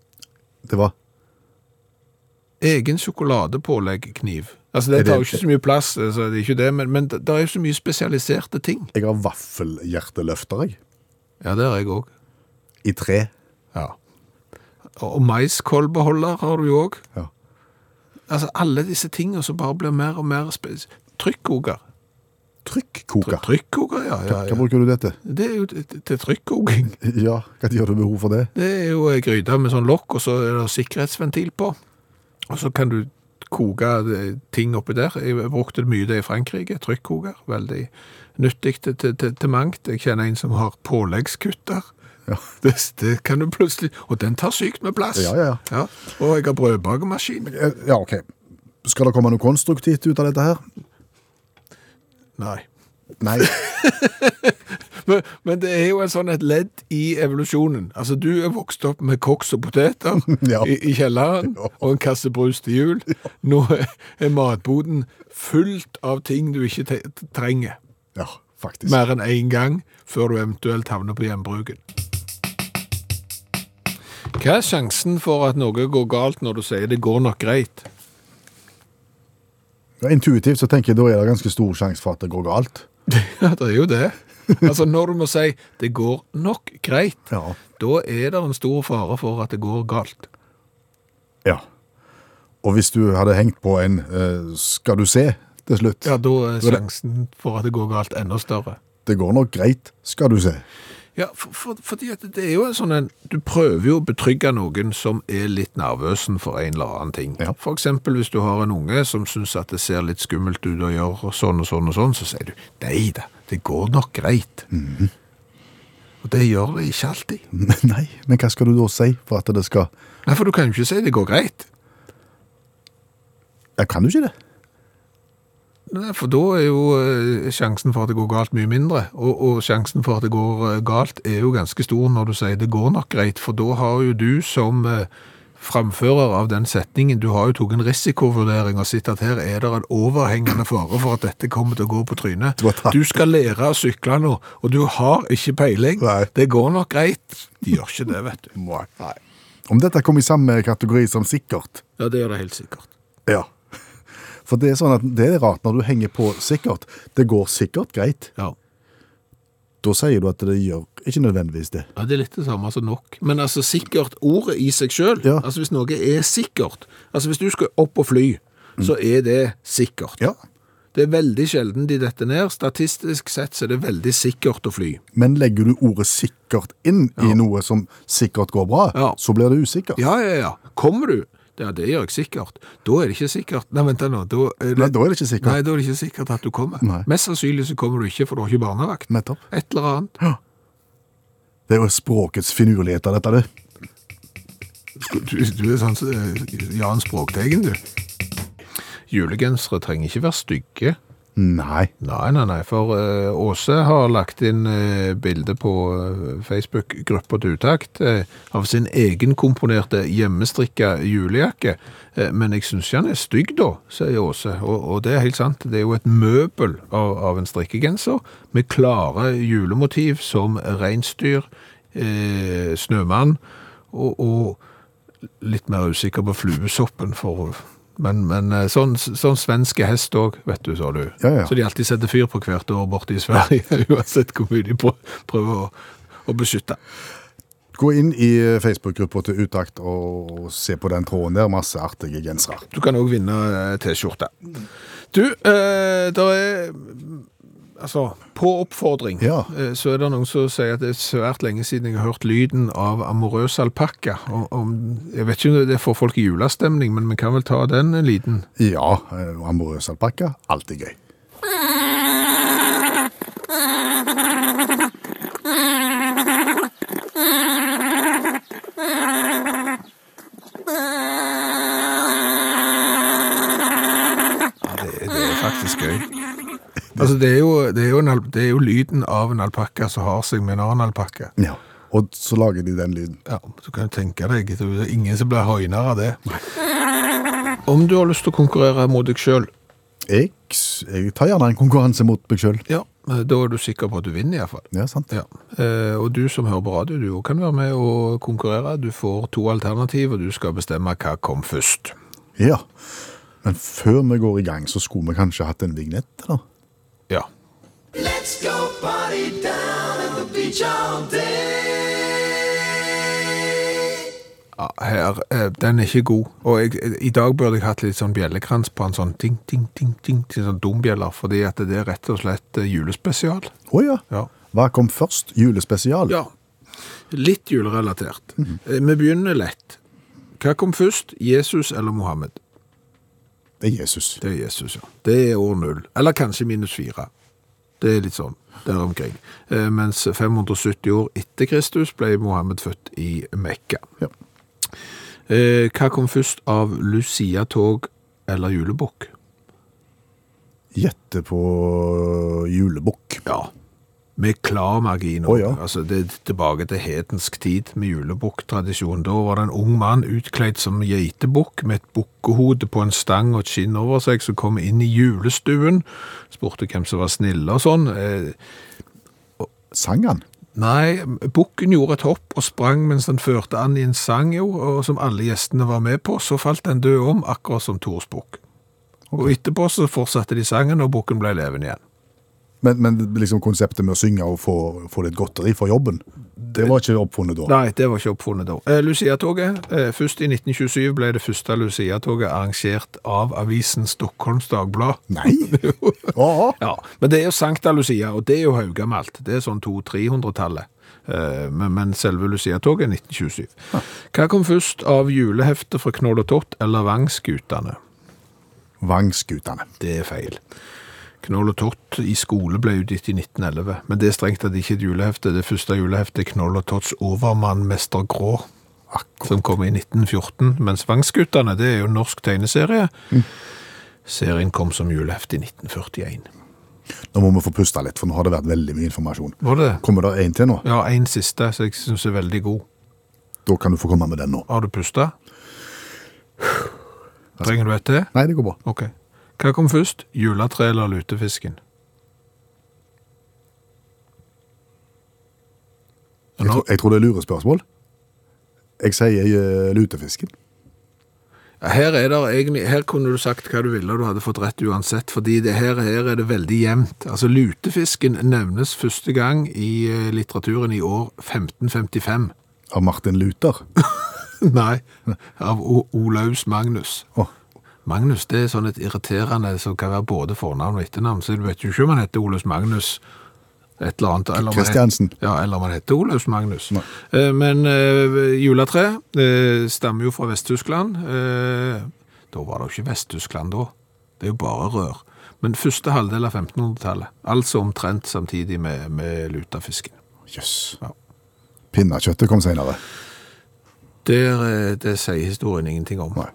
Speaker 3: Det var
Speaker 2: Egen sjokoladepåleggkniv. Altså, det
Speaker 3: Er det-
Speaker 2: tar jo ikke så mye plass, eh, så det er ikke det, men, men det det er jo så mye spesialiserte ting.
Speaker 3: Jeg har vaffelhjerteløfter, jeg.
Speaker 2: Ja, det har jeg òg.
Speaker 3: I tre.
Speaker 2: Ja. Og og maiskålbeholder har du jo òg.
Speaker 3: Ja.
Speaker 2: Altså, alle disse tingene som bare blir mer og mer spes... Trykkoker.
Speaker 3: Trykkoker.
Speaker 2: Trykkoker, ja. ja,
Speaker 3: Hva
Speaker 2: ja.
Speaker 3: bruker du det til?
Speaker 2: Det er jo til- til trykkoking.
Speaker 3: Ja, hva gjør du behov for det?
Speaker 2: Det er jo ei gryte med sånn lokk, og så er det sikkerhetsventil på. Og så kan du koke eh, ting oppi der. Jeg brukte mye det i Frankrike. Trykkoker. Veldig nyttig til, til, til, til mangt. Jeg kjenner en som har påleggskutter.
Speaker 3: Ja.
Speaker 2: Det, det kan du plutselig Og den tar sykt med plass.
Speaker 3: Ja, ja, ja.
Speaker 2: Og jeg har brødbakemaskin.
Speaker 3: Eh, Ja, ok. Skal det komme noe konstruktivt ut av dette her?
Speaker 2: Nei.
Speaker 3: Nei.
Speaker 2: Men, men det er jo en sånn et ledd i evolusjonen. Altså, du er vokst opp med koks og poteter
Speaker 3: Ja.
Speaker 2: i, i kjelleren,
Speaker 3: Ja.
Speaker 2: og en kasse brus til jul. Nå er- er matboden fullt av ting du ikke te- trenger,
Speaker 3: Ja, faktisk.
Speaker 2: mer enn én gang, før du eventuelt havner på hjembruken. Hva er sjansen for at noe går galt når du sier det går nok greit?
Speaker 3: Ja, Intuitivt så tenker jeg da er det ganske stor sjanse for at det går galt.
Speaker 2: Ja, det er jo det. Altså, når du må si det går nok greit,
Speaker 3: Ja.
Speaker 2: da er det en stor fare for at det går galt.
Speaker 3: Ja. Og hvis du hadde hengt på en eh, 'skal du se' til slutt
Speaker 2: Ja, da er
Speaker 3: Da er det-
Speaker 2: sjansen for at det går galt enda større.
Speaker 3: Det går nok greit, skal du se.
Speaker 2: Ja, for, for, fordi at det er jo en sånn en Du prøver jo å betrygge noen som er litt nervøsen for en eller annen ting.
Speaker 3: Ja.
Speaker 2: For eksempel hvis du har en unge som syns at det ser litt skummelt ut å gjøre sånn og sånn og sånn, så sier du nei da, det går nok greit. Og det gjør det ikke alltid.
Speaker 3: Men Nei, men hva skal du da si for at det skal
Speaker 2: Nei, for du kan jo ikke si det går greit.
Speaker 3: Ja, kan du ikke det?
Speaker 2: Nei, for da er jo eh, sjansen for at det går galt mye mindre, og, og sjansen for at det går eh, galt er jo ganske stor når du sier det går nok greit, for da har jo du som eh, framfører av den setningen, du har jo tatt en risikovurdering og sett at her er det en overhengende fare for at dette kommer til å gå på trynet.
Speaker 3: Du har tatt-
Speaker 2: Du skal lære å sykle nå, og du har ikke peiling.
Speaker 3: Nei.
Speaker 2: Det går nok greit. De gjør ikke det, vet du.
Speaker 3: Nei. Om dette kom i samme kategori som sikkert
Speaker 2: Ja, det gjør det helt sikkert.
Speaker 3: Ja. For det er sånn at det er rart når du henger på sikkert. Det går sikkert greit.
Speaker 2: Ja.
Speaker 3: Da sier du at det gjør ikke nødvendigvis det.
Speaker 2: Ja, Det er litt det samme som nok. Men altså, sikkert ordet i seg sjøl.
Speaker 3: Ja.
Speaker 2: Altså, hvis noe er sikkert Altså, hvis du skal opp og fly, så er det sikkert.
Speaker 3: Ja.
Speaker 2: Det er veldig sjelden de detter ned. Statistisk sett så er det veldig sikkert å fly.
Speaker 3: Men legger du ordet sikkert inn i noe som sikkert går bra,
Speaker 2: Ja.
Speaker 3: så blir det usikkert.
Speaker 2: Ja, ja, ja. Kommer du? Ja, det gjør jeg sikkert. Da er det ikke sikkert. Nei, vent da nå. Da er
Speaker 3: Nei,
Speaker 2: det,
Speaker 3: da er det ikke sikkert.
Speaker 2: nei, da er det ikke sikkert at du kommer.
Speaker 3: Nei.
Speaker 2: Mest sannsynlig så kommer du ikke, for du har ikke barnevakt.
Speaker 3: Nettopp.
Speaker 2: Et eller annet.
Speaker 3: Det er jo språkets finurligheter, dette. det.
Speaker 2: Du, du er sånn som eh, Jan Språkteigen, du. Julegensere trenger ikke være stygge.
Speaker 3: Nei.
Speaker 2: Nei, nei, nei, for eh, Åse har lagt inn eh, bilde på eh, Facebook-gruppa til utakt eh, av sin egenkomponerte hjemmestrikka julejakke. Eh, men jeg syns ikke han er stygg, da, sier Åse. Og, og det er helt sant. Det er jo et møbel av, av en strikkegenser med klare julemotiv som reinsdyr, eh, snømann og, og litt mer usikker på fluesoppen, for men, men eh, sånn, sånn svenske hest òg, vet du, sa du.
Speaker 3: Ja, ja.
Speaker 2: Så de alltid setter fyr på hvert år borte i Sverige, uansett hvor mye de prø- prøver å, å beskytte.
Speaker 3: Gå inn i Facebook-gruppa til Utakt og se på den tråden der. Masse artige gensere.
Speaker 2: Du kan òg vinne eh, T-skjorte. Du, eh, der er Altså, på oppfordring
Speaker 3: Ja.
Speaker 2: eh, så er det noen som sier at det er svært lenge siden jeg har hørt lyden av amorøs alpakka. Og- om- Jeg vet ikke om det får folk i julestemning, men vi kan vel ta den eh, lyden.
Speaker 3: Ja, eh, amorøs alpakka. Alltid gøy.
Speaker 2: Det, det er faktisk gøy. Altså, det er, jo, det, er jo en, alp- det er jo lyden av en alpakka som har seg med en annen alpakka.
Speaker 3: Ja. Og så lager de den lyden.
Speaker 2: Ja, du kan jo tenke deg det er ingen som blir høynere av det. Om du har lyst til å konkurrere mot deg sjøl,
Speaker 3: Jeg, s- jeg tar gjerne en konkurranse mot meg sjøl.
Speaker 2: ja, eh, da er du sikker på at du vinner, iallfall.
Speaker 3: Ja, sant?
Speaker 2: Ja. Eh, og du som hører på radio, du også kan være med og konkurrere. Du får to alternativ, og du skal bestemme hva kom først.
Speaker 3: Ja. Men før vi går i gang, så skulle vi kanskje hatt en vignett, da.
Speaker 2: Ja.
Speaker 6: Let's go party down at the beach all day.
Speaker 2: ja her, eh, den er ikke god. Og jeg, eh, i dag burde jeg hatt litt sånn bjellekrans på en sånn ting, ting, ting, ting, til sånn dombjeller, fordi at det er rett og slett eh, julespesial.
Speaker 3: Å ja.
Speaker 2: Ja.
Speaker 3: Hva kom først? Julespesial?
Speaker 2: Ja. Litt julerelatert. Eh, Vi begynner lett. Hva kom først, Jesus eller Mohammed?
Speaker 3: Det er Jesus.
Speaker 2: Det er Jesus, ja. Det er år null. Eller kanskje minus fire. Det er litt sånn der omkring. Eh, Mens 570 år etter Kristus ble Mohammed født i Mekka.
Speaker 3: Ja.
Speaker 2: Eh, Hva kom først av Lucia-tog eller julebukk?
Speaker 3: Gjette på julebukk.
Speaker 2: Ja. Med klar margin.
Speaker 3: Å, ja.
Speaker 2: altså, det er tilbake til hedensk tid med julebukktradisjon. Da var det en ung mann utkledt som geitebukk med et bukkehode på en stang og et skinn over seg, som kom inn i julestuen. Spurte hvem som var snille og sånn. Eh,
Speaker 3: Sang han?
Speaker 2: Nei, bukken gjorde et hopp og sprang mens den førte an i en sang, jo, og som alle gjestene var med på. Så falt den død om, akkurat som Tors bukk. Og etterpå så fortsatte de sangen, og bukken ble levende igjen.
Speaker 3: Men, men liksom konseptet med å synge og få, få litt godteri for jobben, det var ikke oppfunnet da.
Speaker 2: Nei, det var ikke oppfunnet da. Eh, Lucia-toget. Eh, først i 1927 ble det første Lucia-toget arrangert av avisen Stockholms Dagblad.
Speaker 3: Nei? Ja.
Speaker 2: Ja, Men det er jo Sankta Lucia, og det er jo haugamalt. Det er sånn 200-300-tallet. Eh, men, men selve Lucia-toget er 1927. Hva kom først av juleheftet fra Knoll og Tott eller Vangskutene?
Speaker 3: Vangskutene.
Speaker 2: Det er feil. Knoll og Tott i skole ble utgitt i 1911, men det er strengt tatt ikke et julehefte. Det første juleheftet er Knoll og Totts overmann Mester Grå, som kom i 1914, mens Vangsguttene, det er jo en norsk tegneserie. Serien kom som julehefte i 1941.
Speaker 3: Nå må vi få puste litt, for nå har det vært veldig mye informasjon.
Speaker 2: Var det det?
Speaker 3: Kommer det en til nå?
Speaker 2: Ja, en siste som jeg syns er veldig god.
Speaker 3: Da kan du få komme med den nå.
Speaker 2: Har du pusta? Trenger du et til?
Speaker 3: Nei, det går bra.
Speaker 2: Ok. Hva kom først? Juletre eller lutefisken?
Speaker 3: Jeg, tror- jeg tror det er lurespørsmål. Jeg sier eh, lutefisken.
Speaker 2: Her, er der egentlig, her kunne du sagt hva du ville, og du hadde fått rett uansett, fordi det her, her er det veldig jevnt. Altså, lutefisken nevnes første gang i eh, litteraturen i år 1555.
Speaker 3: Av Martin Luther.
Speaker 2: Nei, av o Olaus Magnus.
Speaker 3: Å,
Speaker 2: Magnus det er sånn et irriterende som kan være både fornavn og etternavn, så du vet jo ikke om han heter Olaus Magnus et eller annet. Eller om han het-
Speaker 3: Kristiansen.
Speaker 2: Ja, eller om han heter Olaus Magnus. Eh, Men eh, juletre eh, stammer jo fra Vest-Tyskland. Eh, da var det jo ikke Vest-Tyskland da. Det er jo bare rør. Men første halvdel av 1500-tallet, altså omtrent samtidig med, med lutafisken.
Speaker 3: Jøss.
Speaker 2: Ja.
Speaker 3: Pinnekjøttet kom senere.
Speaker 2: Der, eh, det sier historien ingenting om.
Speaker 3: Nei.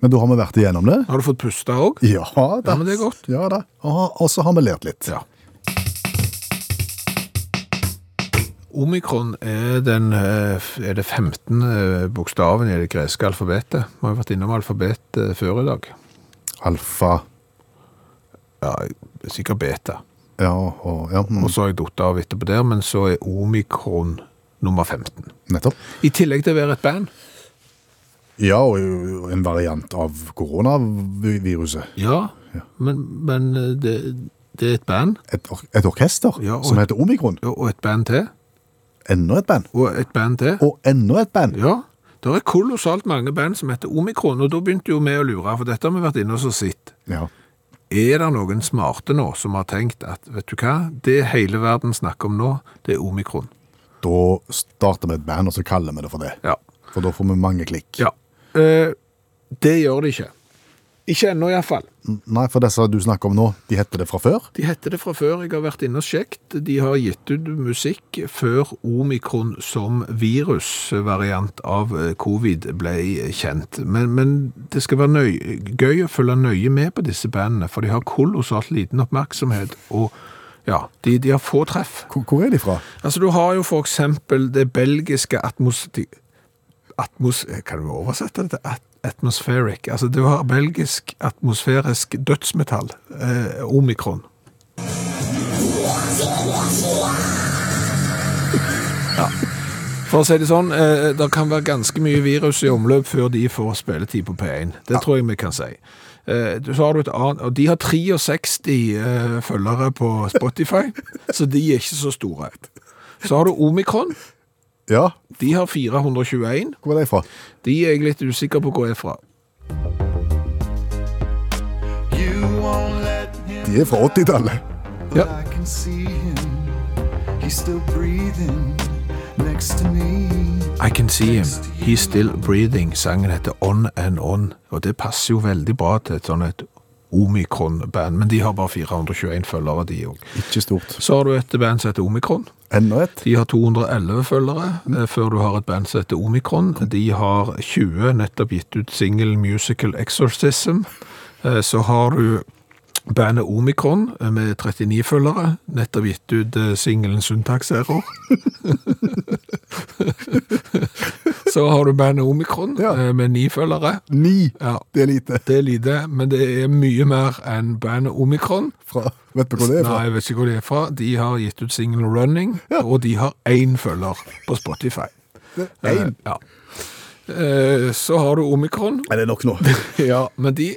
Speaker 3: Men da har vi vært igjennom det.
Speaker 2: Har du fått puste òg?
Speaker 3: Ja da.
Speaker 2: Ja, men det er godt.
Speaker 3: Ja da. Aha, Og så har vi lært litt.
Speaker 2: Ja. Omikron er, den, eh, f- er det 15. eh, bokstaven i det greske alfabetet. Vi har jo vært innom alfabet eh, før i dag.
Speaker 3: Alfa
Speaker 2: Ja, sikkert beta.
Speaker 3: Ja, og ja, mm,
Speaker 2: Og så har jeg datt av etterpå der, men så er omikron nummer 15.
Speaker 3: nettopp.
Speaker 2: I tillegg til å være et band.
Speaker 3: Ja, og jo- en variant av koronaviruset.
Speaker 2: Ja, men, men eh, det, det er et band,
Speaker 3: Et, or et orkester
Speaker 2: Ja, og-
Speaker 3: som heter Omikron.
Speaker 2: og og et band til,
Speaker 3: Enda et band.
Speaker 2: og et band til.
Speaker 3: Og enda et band.
Speaker 2: Ja, det er kolossalt mange band som heter omikron, og da begynte jo vi å lure, for dette har vi vært inne og så sitt.
Speaker 3: Ja.
Speaker 2: Er det noen smarte nå som har tenkt at, vet du hva, det hele verden snakker om nå, det er omikron.
Speaker 3: Da starter vi et band, og så kaller vi det for det.
Speaker 2: Ja.
Speaker 3: For da får vi mange klikk.
Speaker 2: ja. Eh, det gjør de ikke. Ikke ennå iallfall.
Speaker 3: N- Nei, for disse du snakker om nå, de heter det fra før.
Speaker 2: De heter det fra før, jeg har vært inne og sjekt. De har gitt ut musikk før omikron som virusvariant av eh, covid ble kjent. Men, men det skal være nøy, gøy å følge nøye med på disse bandene, for de har kolossalt liten oppmerksomhet, og ja, de, de har få treff.
Speaker 3: Hvor, hvor er de fra?
Speaker 2: Altså, du har jo for eksempel det belgiske atmos... de- atmos kan du oversette det til at atmospheric? Altså, du har belgisk atmosfærisk dødsmetall, eh, omikron. Ja. For å si det sånn, eh, det kan være ganske mye virus i omløp før de får spilletid på P1. Det tror jeg vi kan si. Eh, du- så har du et annet, og de har 63 eh, følgere på Spotify, så de er ikke så store. Så har du Omikron,
Speaker 3: Ja,
Speaker 2: de har 421.
Speaker 3: hvor er de fra?
Speaker 2: De er jeg litt usikker på hvor jeg er fra.
Speaker 6: You won't let him,
Speaker 3: De er fra 80-tallet.
Speaker 2: Ja.
Speaker 6: but I can see him. He's still breathing next to me.
Speaker 2: I can see him, he's still breathing. Sangen heter On and On, og det passer jo veldig bra til et sånn et Omikron-band, men de har bare 421 følgere, de òg.
Speaker 3: Ikke stort.
Speaker 2: Så har du et band som heter Omikron.
Speaker 3: Enda et.
Speaker 2: De har 211 følgere, eh, før du har et band som heter Omikron. De har 20 nettopp gitt ut single musical Exorcism. Eh, Så har du bandet Omikron eh, med 39 følgere, nettopp gitt ut eh, singelen Syntax Error. Så har du bandet Omikron
Speaker 3: Ja.
Speaker 2: eh, med 9 følgere.
Speaker 3: Ni.
Speaker 2: Ja.
Speaker 3: Det er lite.
Speaker 2: Det er lite, men det er mye mer enn bandet Omikron.
Speaker 3: Fra, vet du hvor det er fra?
Speaker 2: Nei, jeg vet ikke hvor det er fra. De har gitt ut singelen Running, og de har én følger på Spotify.
Speaker 3: Én.
Speaker 2: Eh, ja. Eh, Så har du Omikron.
Speaker 3: Er det nok nå?
Speaker 2: Ja, men de,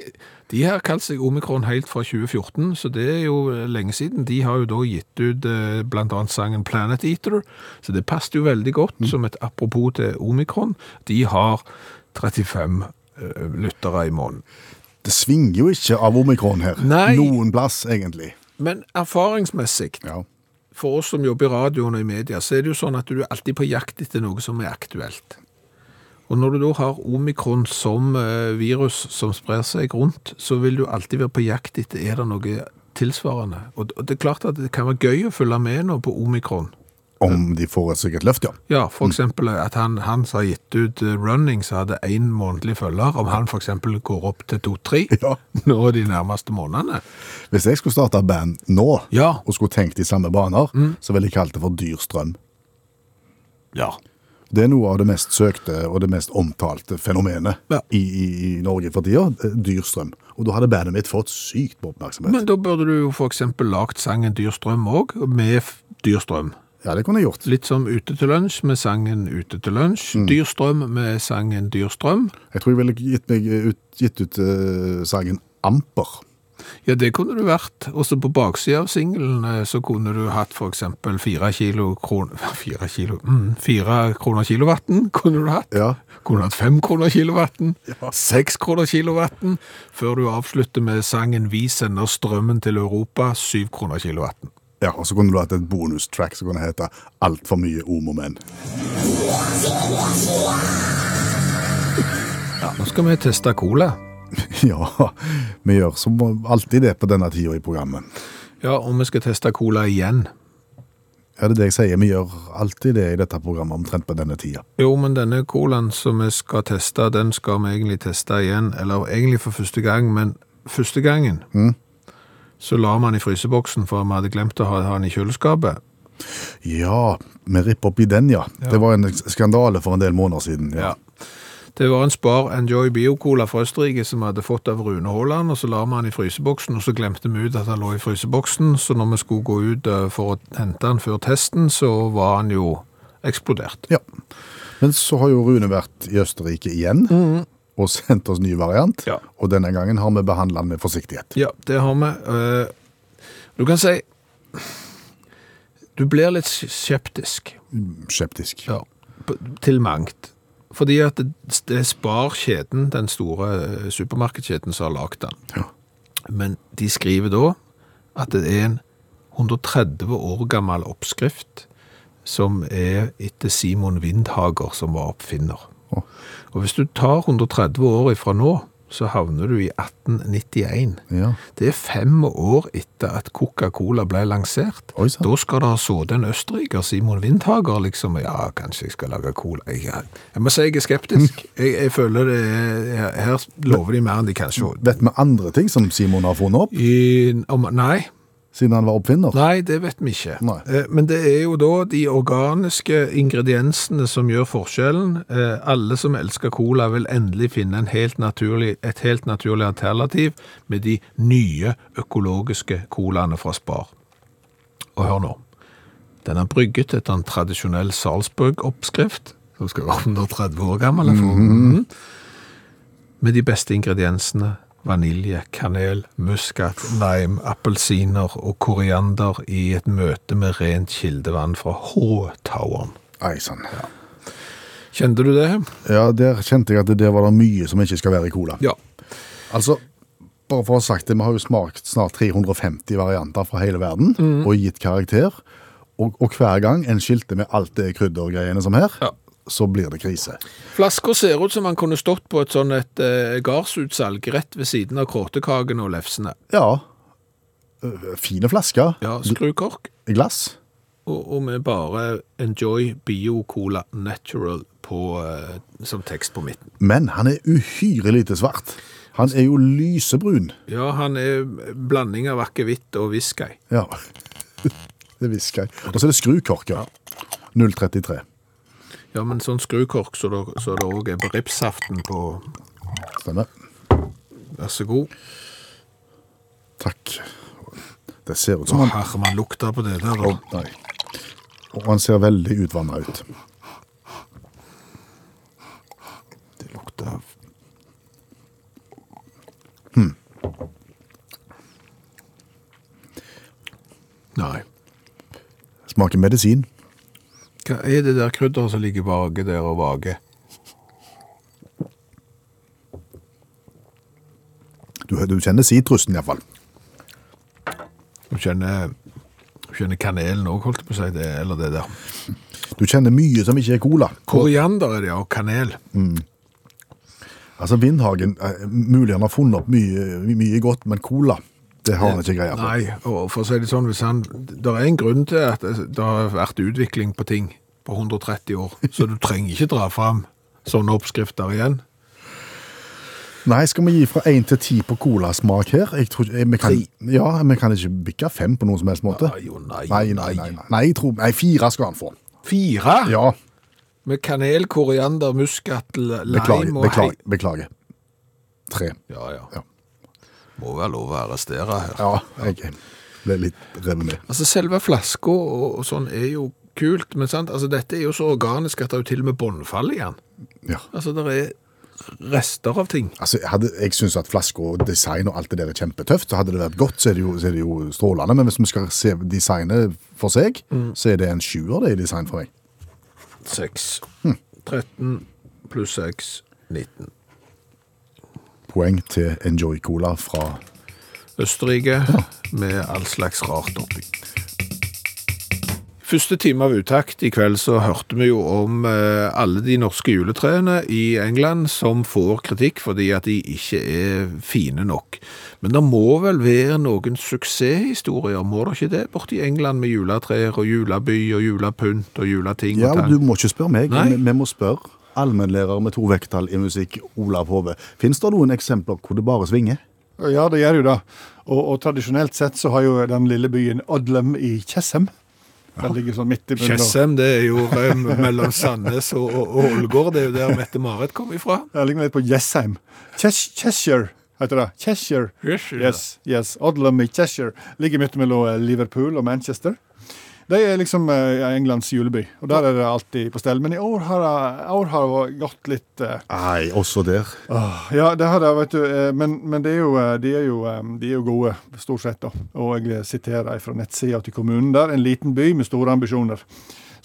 Speaker 2: de har kalt seg Omikron helt fra 2014, så det er jo lenge siden. De har jo da gitt ut eh, blant annet sangen Planet Eater, så det passet jo veldig
Speaker 3: Mm.
Speaker 2: godt som et apropos til Omikron. De har 35 eh, lyttere i måneden.
Speaker 3: Det svinger jo ikke av omikron her.
Speaker 2: Nei.
Speaker 3: Noen plass, egentlig.
Speaker 2: Men erfaringsmessig
Speaker 3: Ja.
Speaker 2: for oss som jobber i radioen og i media, så er det jo sånn at du er alltid på jakt etter noe som er aktuelt. Og når du da har omikron som eh, virus som sprer seg rundt, så vil du alltid være på jakt etter er det noe tilsvarende. Og d- og det er klart at det kan være gøy å følge med nå på omikron.
Speaker 3: Om de får et sikkert løft, ja.
Speaker 2: Ja, for eksempel eh, at han, han som har gitt ut eh, running, som hadde én månedlig følger, om han for eksempel går opp til to-tre
Speaker 3: Ja.
Speaker 2: nå de nærmeste månedene.
Speaker 3: Hvis jeg skulle starte band nå,
Speaker 2: Ja.
Speaker 3: og skulle tenkt i samme baner, så ville jeg kalt det for dyr strøm.
Speaker 2: Ja.
Speaker 3: Det er noe av det mest søkte og det mest omtalte fenomenet
Speaker 2: Ja.
Speaker 3: i, i, i Norge for tida. eh, Dyr strøm. Og da hadde bandet mitt fått sykt med oppmerksomhet.
Speaker 2: Men da burde du jo for eksempel lagt sangen Dyrstrøm òg, med f- Dyrstrøm.
Speaker 3: Ja, det kunne jeg gjort.
Speaker 2: Litt som Ute til lunsj med sangen Ute til lunsj. Dyrstrøm med sangen Dyrstrøm.
Speaker 3: Jeg tror jeg ville gitt, meg ut, gitt ut eh, sangen Amper.
Speaker 2: Ja, det kunne du vært. Også på baksida av singelen eh, så kunne du hatt for eksempel fire kilo kron... Fire kilo mm, Fire kroner kilowatten kunne du hatt.
Speaker 3: Ja.
Speaker 2: Kunne hatt fem kroner kilowatten, seks kroner kilowatten, før du avslutter med sangen Vi sender strømmen til Europa, syv kroner kilowatten.
Speaker 3: Ja, og så kunne du hatt et bonustrack som kunne hete Altfor mye om og men.
Speaker 2: Ja, nå skal vi teste cola.
Speaker 3: ja, vi gjør som alltid det på denne tida i programmet.
Speaker 2: Ja, og vi skal teste cola igjen.
Speaker 3: Er det det jeg sier? Vi gjør alltid det i dette programmet omtrent på denne tida.
Speaker 2: Jo, men denne colaen som vi skal teste, den skal vi egentlig teste igjen, eller egentlig for første gang, men første gangen så la man i fryseboksen, for vi hadde glemt å ha ha den i kjøleskapet.
Speaker 3: Ja, vi ripper opp i den, ja. Det var en skandale for en del måneder siden. Ja.
Speaker 2: Det var en Spar Enjoy Bio-cola fra Østerrike som vi hadde fått av Rune Haaland, og så la vi den i fryseboksen, og så glemte vi ut at han lå i fryseboksen, så når vi skulle gå ut eh, for å hente den før testen, så var han jo eksplodert.
Speaker 3: Ja. Men så har jo Rune vært i Østerrike igjen og sendt oss ny variant.
Speaker 2: Mm. Ja.
Speaker 3: Og denne gangen har vi behandla den med forsiktighet.
Speaker 2: Ja, det har vi. Eh, Du kan si Du blir litt skeptisk
Speaker 3: Skeptisk.
Speaker 2: ja, på- til mangt. Fordi at det det er Spar-kjeden, den store eh, supermarkedskjeden, som har lagd den.
Speaker 3: Ja.
Speaker 2: Men de skriver da at det er en 130 år gammel oppskrift som er etter Simon Windhager, som var oppfinner.
Speaker 3: Å.
Speaker 2: Og hvis du tar 130 år ifra nå, så havner du i 1891.
Speaker 3: Ja.
Speaker 2: Det er fem år etter at Coca-Cola ble lansert.
Speaker 3: Oi, sant.
Speaker 2: Da skal det ha sittet en østerriker, Simon Windhager, liksom. Ja, kanskje jeg skal lage cola. Jeg, jeg må si jeg er skeptisk. Jeg, jeg føler det er Her lover de mer enn de kan se.
Speaker 3: Vet vi andre ting som Simon har funnet opp,
Speaker 2: I, om, nei,
Speaker 3: siden han var oppfinner?
Speaker 2: nei, det vet vi ikke.
Speaker 3: Nei.
Speaker 2: Eh, Men det er jo da de organiske ingrediensene som gjør forskjellen. Eh, Alle som elsker cola vil endelig finne en helt naturlig, et helt naturlig alternativ med de nye økologiske colaene fra Spar. Og hør nå. Den er brygget etter en tradisjonell Salzburg-oppskrift, som skal være 130 år gammel. jeg får- Mhm. Med de beste ingrediensene vanilje, kanel, muskat, lime, appelsiner og koriander i et møte med rent kildevann fra H-toweren.
Speaker 3: Nei, sånn. sann.
Speaker 2: Kjente du det?
Speaker 3: Ja, der kjente jeg at det der var det mye som ikke skal være i cola.
Speaker 2: Ja.
Speaker 3: Altså, bare for å ha sagt det, vi har jo smakt snart 350 varianter fra hele verden,
Speaker 2: Mm.
Speaker 3: og gitt karakter. Og, og hver gang en skilte med alt det kryddergreiene som her,
Speaker 2: Ja.
Speaker 3: så blir det krise.
Speaker 2: Flasker ser ut som han kunne stått på et sånn et eh, gardsutsalg rett ved siden av kråtekakene og lefsene.
Speaker 3: Ja, øh, fine flasker,
Speaker 2: Ja, skrukork.
Speaker 3: glass.
Speaker 2: Og, og med bare Enjoy Bio Cola Natural på, eh, som tekst på midten.
Speaker 3: Men han er uhyre lite svart. Han er jo lysebrun.
Speaker 2: Ja, han er blanding av akevitt og whisky.
Speaker 3: Ja, det visker jeg. Og så er det skrukorker. 0,33.
Speaker 2: Ja, men sånn skrukork så det, så det også er på ripsaften på
Speaker 3: Stemmer.
Speaker 2: Vær så god.
Speaker 3: Takk. Det ser ut
Speaker 2: Å,
Speaker 3: som han...
Speaker 2: herre, man lukter på det der,
Speaker 3: Å,
Speaker 2: da.
Speaker 3: nei. Og han ser veldig utvannet ut.
Speaker 2: Det lukter av Nei.
Speaker 3: Smaker medisin.
Speaker 2: Hva er det der krydderet som ligger vage der og vage?
Speaker 3: Du, du kjenner sitrusen iallfall.
Speaker 2: Du kjenner, du kjenner kanelen òg, holdt jeg på å si. Det, eller det der.
Speaker 3: Du kjenner mye som ikke er cola.
Speaker 2: Koriander er det, ja. Og kanel.
Speaker 3: Altså Vindhagen, eh, mulig han har funnet opp mye, mye godt, men cola, det har han ikke greie på.
Speaker 2: Nei, og for å si det sånn, hvis han, det er en grunn til at det har vært utvikling på ting på 130 år, så du trenger ikke dra fram sånne oppskrifter igjen.
Speaker 3: Nei, skal vi gi fra én til ti på colasmak her? Jeg tror, ikke- eh, vi kan,
Speaker 2: Tre.
Speaker 3: ja, vi kan ikke bykke fem på noen som helst måte.
Speaker 2: Nei, jo, nei,
Speaker 3: nei, nei, nei, nei. Nei, jeg tror, nei, fire skal han få.
Speaker 2: Fire
Speaker 3: Ja,
Speaker 2: med kanel, koriander, muskat, l- lime
Speaker 3: beklager.
Speaker 2: og
Speaker 3: Beklager. beklager. Tre.
Speaker 2: Ja, ja,
Speaker 3: Ja.
Speaker 2: Må være lov å arrestere her.
Speaker 3: Ja, jeg ble litt revet med.
Speaker 2: Altså, selve flaska og, og sånn er jo kult, men sant? Altså, dette er jo så organisk at det er jo til og med båndfall i den.
Speaker 3: Ja.
Speaker 2: Altså, det er rester av ting.
Speaker 3: Altså, jeg hadde, jeg syns at flasker og design og alt det der er kjempetøft. Så hadde det vært godt, så er det jo, så er det jo strålende. Men hvis vi skal se designet for seg, så er det en sjuer det i design for meg.
Speaker 2: 6. 13 pluss 6, 19.
Speaker 3: Poeng til Enjoy Cola fra
Speaker 2: Østerrike med all slags rart oppi. Første time av utakt i kveld så hørte vi jo om eh, alle de norske juletrærne i England som får kritikk fordi at de ikke er fine nok. Men det må vel være noen suksesshistorier, må det ikke det, borti England med juletrær og juleby og julepynt og juleting
Speaker 3: Ja,
Speaker 2: og
Speaker 3: og
Speaker 2: tang?
Speaker 3: du må ikke spørre meg.
Speaker 2: Nei.
Speaker 3: Vi, vi må spørre allmennlærer med to vekttall i musikk, Olav Hove. Fins det noen eksempler hvor det bare svinger?
Speaker 5: Ja, det gjør jo det. Og, og tradisjonelt sett så har jo den lille byen Adlem i Tjessem Den ligger sånn midt i bunnen.
Speaker 2: Tjessem, det er jo eh, mellom Sandnes og og Ålgård, det er jo der Mette-Marit kom ifra.
Speaker 5: Det ligner litt på Jessheim. Chess- Cheshire heter det. Cheshire.
Speaker 2: Cheshire.
Speaker 5: Yes, yes. Odlum i Cheshire ligger midt mellom eh, Liverpool og Manchester. De er liksom eh, Englands juleby, og der er det alltid på stell. Men i år har det år har det gått litt eh,
Speaker 3: Nei, også der.
Speaker 5: Åh, Ja, det har det, vet du. eh, Men, men det er jo, eh, de, er jo, eh, de er jo gode, stort sett. da. Og jeg siterer fra nettsida til kommunen der. En liten by med store ambisjoner,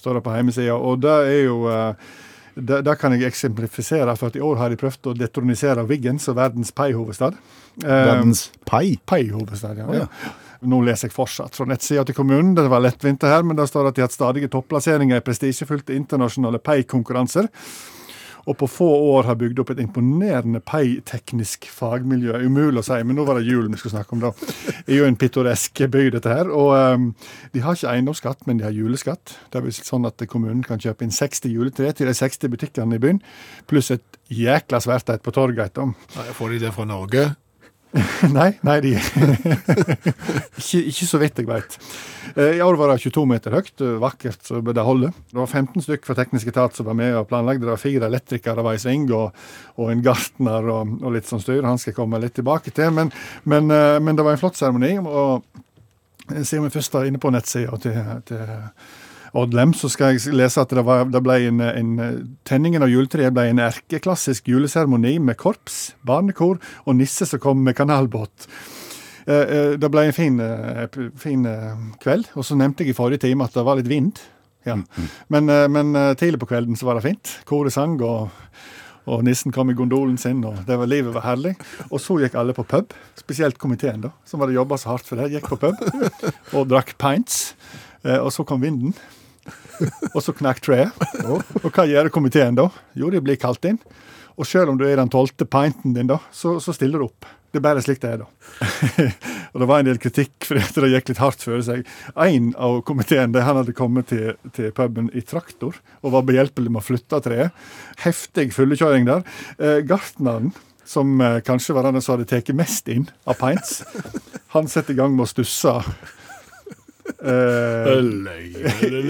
Speaker 5: står det på hjemmesida. Og det er jo eh, det, det kan jeg eksemplifisere, for at i år har de prøvd å detronisere Wiggen som verdens pai-hovedstad. Eh,
Speaker 3: Verdens pai.
Speaker 5: Pai-hovedstad, ja. Nå leser jeg fortsatt fra nettsida til kommunen. Det var lettvint det her, men der står det at de har hatt stadige topplasseringer i prestisjefylte internasjonale pai-konkurranser. Og på få år har bygd opp et imponerende pai-teknisk fagmiljø. Umulig å si, men nå var det julen vi skulle snakke om, da. Det er jo en pittoresk by, dette her. Og ehm, de har ikke eiendomsskatt, men de har juleskatt. Det er vel sånn at kommunen kan kjøpe inn 60 juletre til de 60 butikkene i byen, pluss et jækla svært et på torget etterpå.
Speaker 2: Nei, Får de det fra Norge?
Speaker 5: Nei, nei de ikke, ikke så vidt jeg veit. I år var det 22 meter høyt, eh, vakkert så det holder. Det var 15 stykk fra teknisk etat som var med og planlagde. Det var fire elektrikere var i sving, og, og en gartner og, og litt sånn styr. Han skal jeg komme litt tilbake til. Men, men, eh, men det var en flott seremoni. og Siden vi først er inne på nettsida til, til Oddlem, så skal jeg lese at det, var, det ble en, en Tenningen av juletreet ble en erkeklassisk juleseremoni med korps, barnekor og nisse som kom med kanalbåt. Eh, eh, Det ble en fin, eh, p- fin eh, kveld, og så nevnte jeg i forrige time at det var litt vind. Ja. Men, eh, men eh, tidlig på kvelden så var det fint. Koret sang, og, og nissen kom i gondolen sin, og det var, livet var herlig. Og så gikk alle på pub, spesielt komiteen, da, som hadde jobba så hardt for det. Gikk på pub og drakk pints. Eh, Og så kom vinden. Og så knakk treet. Og hva gjør komiteen da? Jo, de blir kalt inn. Og selv om du er den tolvte pinten din, da, så, så stiller du opp. Det er bare slik det er, da. og det var en del kritikk fordi at det gikk litt hardt føre seg. En av komiteen det, han hadde kommet til, til puben i traktor og var behjelpelig med å flytte treet. Heftig fullekjøring der. Eh, gartneren, som eh, kanskje var den som hadde tatt mest inn av pints, han setter i gang med å stusse. Eh,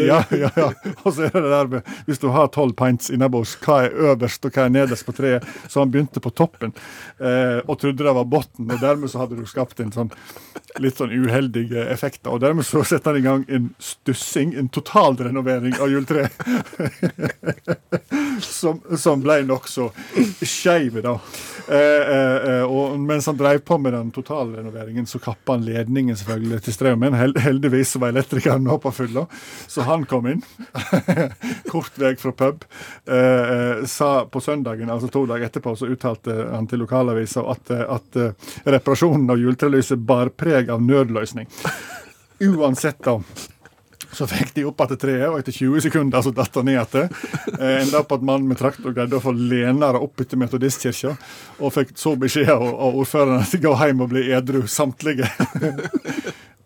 Speaker 5: ja, ja, ja. Og så er det det der med Hvis du har tolv pints innabords, hva er øverst og hva er nederst på treet? Så han begynte på toppen eh, og trodde det var bunnen, og dermed så hadde du skapt en sånn litt sånn uheldig eh, effekt. da. Og dermed så setter han i gang en stussing, en totalrenovering av juletreet. som, som ble nokså skeiv, da. Eh, eh, eh, og mens han drev på med den totalrenoveringen, så kappa han ledningen selvfølgelig til strømmen. Hel heldigvis så var elektrikeren hoppa fulla, så han kom inn. Kort vei fra pub. Eh, eh, sa på søndagen, altså to dager etterpå, så uttalte han til lokalavisa at, eh, at eh, reparasjonen av juletrelyset bar preg av nødløsning. Uansett, da. Så fikk de opp etter treet, og etter 20 sekunder så datt han ned etter. Eh, Enda opp at mannen med traktor greide å få lenere opp etter metodistkirka, og fikk så beskjed av, av ordføreren at de gå hjem og bli edru, samtlige.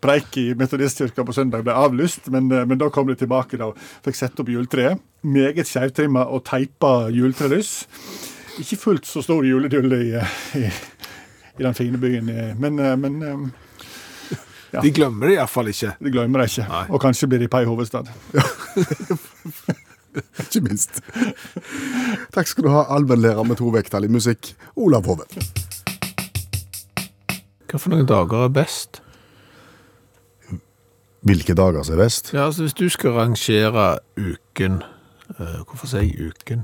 Speaker 5: Preik i metodistkirka på søndag ble avlyst, men, eh, men da kom de tilbake da, og fikk sette opp juletreet. Meget skjevtrimma og teipa juletrelys. Ikke fullt så stor juledulle i, eh, i, i den fine byen, eh, men, eh, men eh,
Speaker 2: De glemmer det iallfall ikke.
Speaker 5: de glemmer det ikke. Og kanskje blir de pai hovedstad.
Speaker 3: Ikke minst. Takk skal du ha, allmennlærer med to vekttall i musikk, Olav Hove.
Speaker 2: Hva for noen dager er best?
Speaker 3: Hvilke dager som er best?
Speaker 2: Ja, altså Hvis du skal rangere uken eh, Hvorfor sier jeg uken?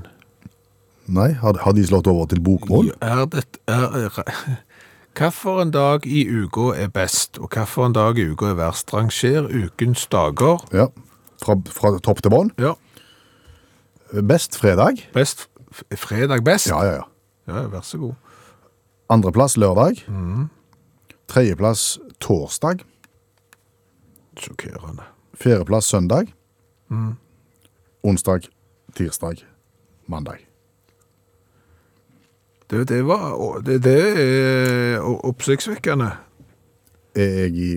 Speaker 3: Nei, har, har de slått over til bokmål?
Speaker 2: Er det, er, er, Hvilken dag i uka er best, og hvilken dag i uka er verst? Ranger ukens dager.
Speaker 3: Ja. Fra, fra topp til bånn?
Speaker 2: Ja,
Speaker 3: Best fredag?
Speaker 2: best f- fredag best.
Speaker 3: Ja, ja, ja.
Speaker 2: Ja, vær så god.
Speaker 3: Andreplass lørdag.
Speaker 2: Mm.
Speaker 3: Tredjeplass torsdag.
Speaker 2: Sjokkerende.
Speaker 3: Fjerdeplass søndag.
Speaker 2: Mm.
Speaker 3: Onsdag, tirsdag, mandag.
Speaker 2: Det, det, var, å, det, det er o- oppsiktsvekkende.
Speaker 3: Er jeg i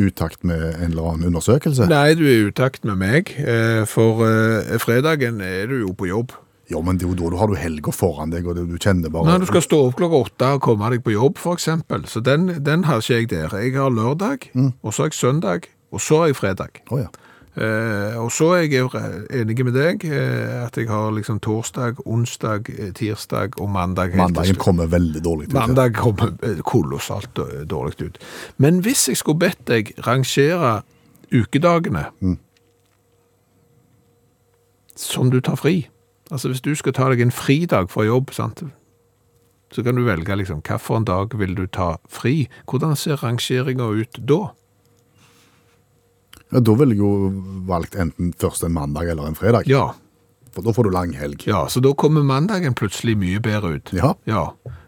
Speaker 3: utakt med en eller annen undersøkelse?
Speaker 2: Nei, du er i utakt med meg, eh, for eh, fredagen er du jo på jobb.
Speaker 3: Jo, men det er jo da du har du helga foran deg, og det, du kjenner bare
Speaker 2: Nei, du skal stå opp klokka åtte og komme deg på jobb, for eksempel. Så den, den har ikke jeg der. Jeg har lørdag,
Speaker 3: Mm.
Speaker 2: og så har jeg søndag, og så har jeg fredag.
Speaker 3: Å, ja.
Speaker 2: Eh, og så er jeg jo re- enig med deg eh, at jeg har liksom torsdag, onsdag, eh, tirsdag og mandag. helt til
Speaker 3: Mandagen
Speaker 2: slutt.
Speaker 3: kommer veldig dårlig ut. ja.
Speaker 2: Mandag kommer eh, kolossalt eh, dårlig ut. Men hvis jeg skulle bedt deg rangere ukedagene som du tar fri Altså hvis du skal ta deg en fridag fra jobb, sant? så kan du velge liksom, hvilken dag vil du ta fri. Hvordan ser rangeringa ut da?
Speaker 3: Ja, da ville jeg jo valgt enten først en mandag eller en fredag.
Speaker 2: Ja,
Speaker 3: For da får du lang helg.
Speaker 2: ja så da kommer mandagen plutselig mye bedre ut.
Speaker 3: Ja.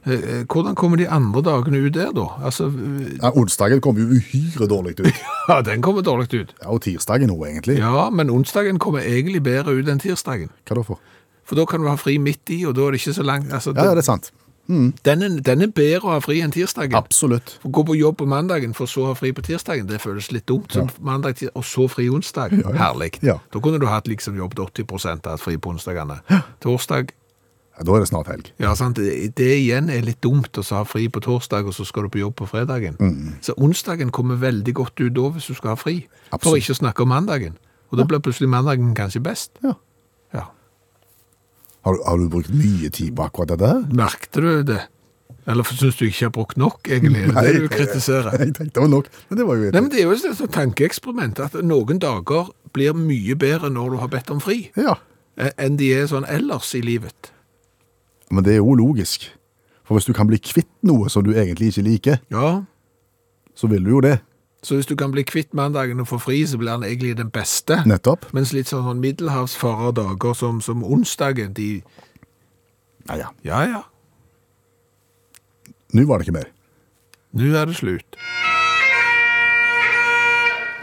Speaker 2: Eh, eh, Hvordan kommer de andre dagene ut der, da? Altså, eh,
Speaker 3: Ja, onsdagen kommer jo uhyre dårlig ut.
Speaker 2: ja, den kommer dårlig ut.
Speaker 3: Ja, og tirsdagen òg, egentlig.
Speaker 2: Ja, men onsdagen kommer egentlig bedre ut enn tirsdagen.
Speaker 3: Hva da for?
Speaker 2: For da kan du ha fri midt i, og da er det ikke så langt. Altså,
Speaker 3: Ja, ja, det er sant.
Speaker 2: den, er, den er bedre å ha fri enn tirsdagen.
Speaker 3: Absolutt.
Speaker 2: Å Gå på jobb på mandagen for så å ha fri på tirsdagen, det føles litt dumt. Så mandag, tir- og så fri onsdag. Herlig.
Speaker 3: Ja.
Speaker 2: Da kunne du hatt liksom jobb til 80 og hatt fri på onsdagene. Torsdag,
Speaker 3: Ja, da er det snart helg.
Speaker 2: ja sant, det, det igjen er litt dumt å så ha fri på torsdag, og så skal du på jobb på fredagen.
Speaker 3: Mm.
Speaker 2: Så onsdagen kommer veldig godt ut da hvis du skal ha fri. For
Speaker 3: Absolutt.
Speaker 2: ikke å snakke om mandagen. Og da blir plutselig mandagen kanskje best.
Speaker 3: Ja.
Speaker 2: Ja.
Speaker 3: Har du, har du brukt mye tid på akkurat dette? her?
Speaker 2: Merkte du det? Eller syns du ikke jeg har brukt nok, egentlig? Er Det er det du kritiserer.
Speaker 3: Jeg tenkte det var nok, men det var jo
Speaker 2: Nei,
Speaker 3: et
Speaker 2: men Det er jo et sånt tankeeksperiment at noen dager blir mye bedre når du har bedt om fri,
Speaker 3: Ja.
Speaker 2: eh, enn de er sånn ellers i livet.
Speaker 3: Men det er jo logisk. For hvis du kan bli kvitt noe som du egentlig ikke liker,
Speaker 2: Ja,
Speaker 3: så vil du jo det.
Speaker 2: Så hvis du kan bli kvitt mandagen og få fri, så blir han egentlig den beste.
Speaker 3: Nettopp.
Speaker 2: Mens litt sånn sånn middelhavsfarer dager som, som onsdagen, de
Speaker 3: Ja, ja.
Speaker 2: Ja ja,
Speaker 3: Nå var det ikke mer.
Speaker 2: nå er det slutt.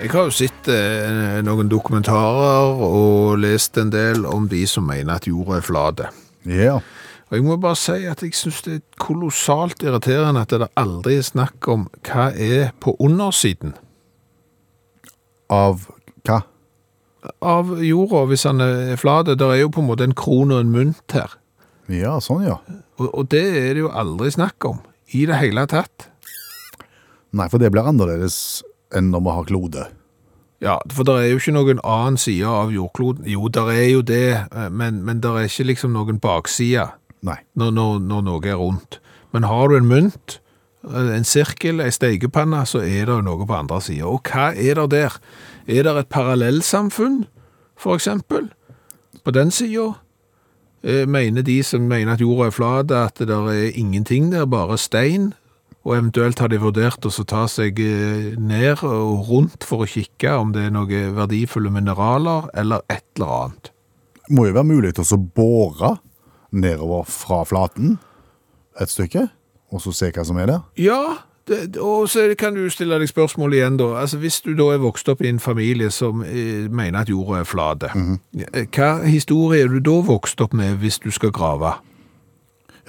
Speaker 2: Jeg har jo sett eh, noen dokumentarer og lest en del om de som mener at jorda er flate.
Speaker 3: Ja.
Speaker 2: Og jeg må bare si at jeg syns det er kolossalt irriterende at det aldri er snakk om hva er på undersiden
Speaker 3: Av hva?
Speaker 2: av jorda hvis den er flat. Det er jo på en måte en krone og en mynt her.
Speaker 3: Ja, sånn ja.
Speaker 2: Og, og det er det jo aldri snakk om i det hele tatt.
Speaker 3: Nei, for det blir annerledes enn når vi har klode.
Speaker 2: Ja, for det er jo ikke noen annen side av jordkloden. Jo, det er jo det, eh, men, men det er ikke liksom noen bakside
Speaker 3: Nei.
Speaker 2: når, når, når noe er rundt. Men har du en mynt, eh, en sirkel, en steikepanne, så er det jo noe på andre siden. Og hva er det der? Er det et parallellsamfunn, for eksempel, på den siden? Eh, Mener de som mener at jorda er flat, at det der er ingenting der, bare stein? Og eventuelt har de vurdert å så ta seg eh, ned og rundt for å kikke om det er noen verdifulle mineraler eller et eller annet.
Speaker 3: Må jo være mulig til å så bore nedover fra flaten et stykke, og så se hva som er der.
Speaker 2: Ja, det, og så kan du stille deg spørsmål igjen da. Altså, hvis du da er vokst opp i en familie som eh, mener at jorda er flate, eh, hva historie er du da vokst opp med hvis du skal grave?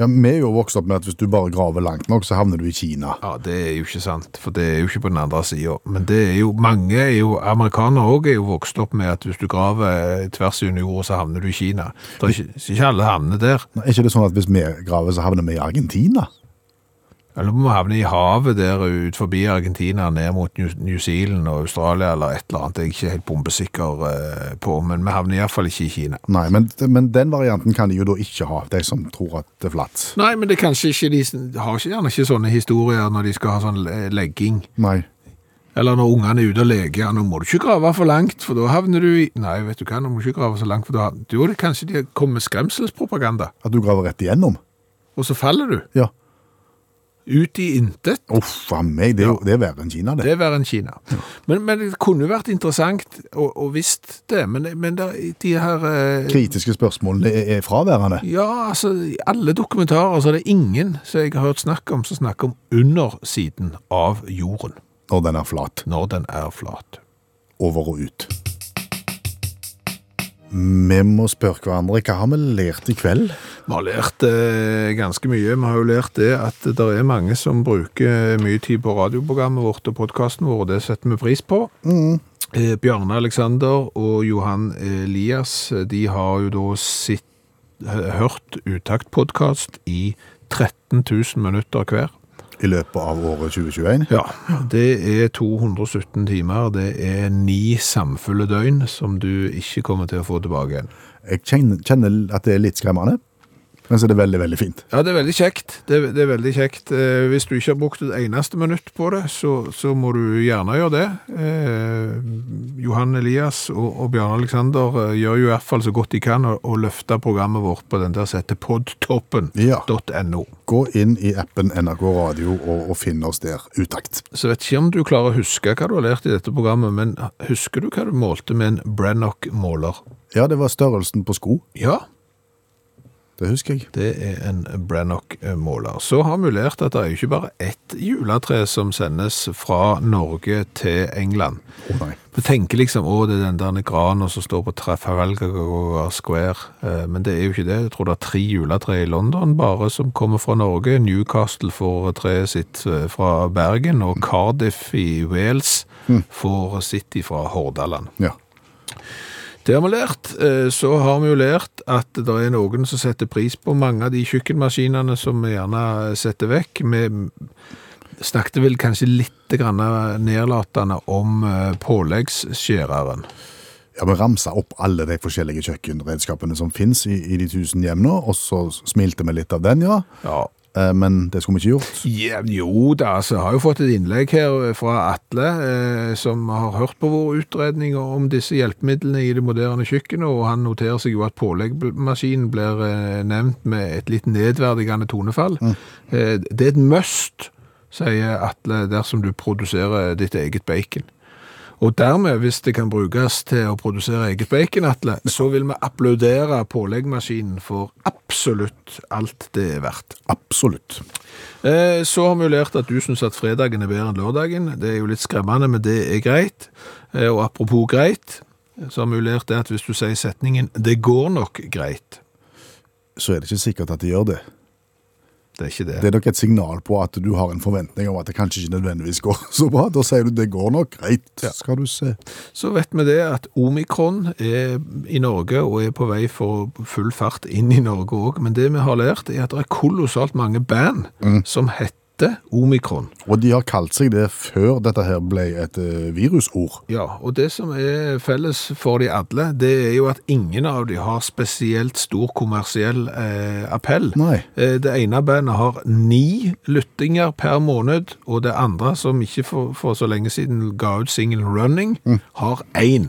Speaker 3: Ja, Vi er jo vokst opp med at hvis du bare graver langt nok, så havner du i Kina.
Speaker 2: Ja, det er jo ikke sant, for det er jo ikke på den andre sida. Men det er jo, mange er jo, amerikanere òg er jo vokst opp med at hvis du graver eh, tvers under jorda, så havner du i Kina. Det er ikke, så ikke alle havner der.
Speaker 3: Nei, er ikke det sånn at hvis vi graver, så havner vi i Argentina?
Speaker 2: Eller må havne i havet der ut forbi Argentina, ned mot New, New Zealand og Australia eller et eller annet. Jeg er ikke helt bombesikker eh, på, men vi havner iallfall ikke i Kina.
Speaker 3: Nei, men, men den varianten kan de jo da ikke ha, de som tror at det er flatt.
Speaker 2: Nei, men det er kanskje ikke de som- har ikke, gjerne ikke sånne historier når de skal ha sånn eh, legging.
Speaker 3: Nei.
Speaker 2: Eller når ungene er ute og leker, ja, nå må du ikke grave for langt, for da havner du i Nei, vet du hva, nå må du ikke grave så langt, for da havner Jo, det- kanskje de kommer med skremselspropaganda,
Speaker 3: At du graver rett igjennom?
Speaker 2: og så faller du.
Speaker 3: Ja.
Speaker 2: Ut i intet.
Speaker 3: Uff a meg, det er, jo- det er verre enn Kina, det.
Speaker 2: Det være en Kina. Men, men det kunne jo vært interessant å, å visst det, men, men der, de her eh,
Speaker 3: Kritiske spørsmål det er er fraværende.
Speaker 2: Ja, altså, i alle dokumentarer så er det ingen som jeg har hørt snakk om, som snakker om undersiden av jorden,
Speaker 3: Når den er flat.
Speaker 2: når den er flat.
Speaker 3: Over og ut. Vi må spørre hverandre hva har vi lært i kveld?
Speaker 2: Vi har lært eh, ganske mye. Vi har jo lært det at det er mange som bruker mye tid på radioprogrammet vårt og podkasten vår, og det setter vi pris på. Eh, Bjarne Alexander og Johan Elias eh, de har jo da sitt, hø- hørt Utakt-podkast i 13 000 minutter hver.
Speaker 3: I løpet av året 2021?
Speaker 2: Ja, det er 217 timer. Det er ni samfulle døgn som du ikke kommer til å få tilbake igjen.
Speaker 3: Jeg kjenner, kjenner at det er litt skremmende, men så er det veldig, veldig fint.
Speaker 2: Ja, det er veldig kjekt. Det er, det er veldig kjekt. Eh, hvis du ikke har brukt et eneste minutt på det, så, så må du gjerne gjøre det. Eh, Johan Elias og, og Bjarne Alexander eh, gjør jo i hvert fall så godt de kan å, å løfte programmet vårt på den der som heter
Speaker 3: Ja.
Speaker 2: podtoppen.no.
Speaker 3: Gå inn i appen NRK Radio og, og finn oss der utakt.
Speaker 2: Så vet ikke om du klarer å huske hva du har lært i dette programmet, men husker du hva du målte med en Brannock-måler?
Speaker 3: Ja, det var størrelsen på sko.
Speaker 2: Ja,
Speaker 3: Det husker jeg.
Speaker 2: Det er en Brannock-måler. Så har vi lært at det er jo ikke bare ett juletre som sendes fra Norge til England.
Speaker 3: Å nei.
Speaker 2: Du tenker liksom å, det er den der granen som står på Trafalgar Square, Eh, men det er jo ikke det. Jeg tror det er tre juletre i London bare som kommer fra Norge. Newcastle får treet sitt eh, fra Bergen, og Cardiff i Wales får sitt fra Hordaland.
Speaker 3: Ja.
Speaker 2: Det har vi lært. Eh, Så har vi jo lært at det er noen som setter pris på mange av de kjøkkenmaskinene som vi gjerne setter vekk. Vi snakket vel kanskje litt grann nedlatende om eh, påleggsskjæreren.
Speaker 3: Ja, Vi ramsa opp alle de forskjellige kjøkkenredskapene som fins i, i de tusen hjem nå, og så smilte vi litt av den, ja.
Speaker 2: Ja.
Speaker 3: Eh, Men det skulle vi ikke gjort.
Speaker 2: Ja, jo da, altså, jeg har jo fått et innlegg her fra Atle, eh, som har hørt på våre utredninger om disse hjelpemidlene i det moderne kjøkkenet, og han noterer seg jo at påleggmaskinen blir eh, nevnt med et litt nedverdigende tonefall. Eh, det er et must, sier Atle, dersom du produserer ditt eget bacon. Og dermed, hvis det kan brukes til å produsere eget bacon, Atle, så vil vi applaudere påleggmaskinen for absolutt alt det er verdt.
Speaker 3: Absolutt.
Speaker 2: Eh, Så har vi jo lært at du syns at fredagen er bedre enn lørdagen. Det er jo litt skremmende, men det er greit. Eh, Og apropos greit, så har vi jo lært det at hvis du sier setningen 'det går nok greit',
Speaker 3: Så er det ikke sikkert at de gjør det.
Speaker 2: det er ikke det.
Speaker 3: Det er nok et signal på at du har en forventning om at det kanskje ikke nødvendigvis går så bra. Da sier du det går nok greit, skal du se.
Speaker 2: Så vet vi det at omikron er i Norge og er på vei for full fart inn i Norge òg. Men det vi har lært, er at det er kolossalt mange band
Speaker 3: Mm.
Speaker 2: som heter omikron.
Speaker 3: Og de har kalt seg det før dette her ble et eh, virusord.
Speaker 2: Ja, og det som er felles for de alle, det er jo at ingen av de har spesielt stor kommersiell eh, appell.
Speaker 3: Nei.
Speaker 2: Eh, det ene bandet har ni lyttinger per måned, og det andre, som ikke for, for så lenge siden ga ut singelen Running, har én.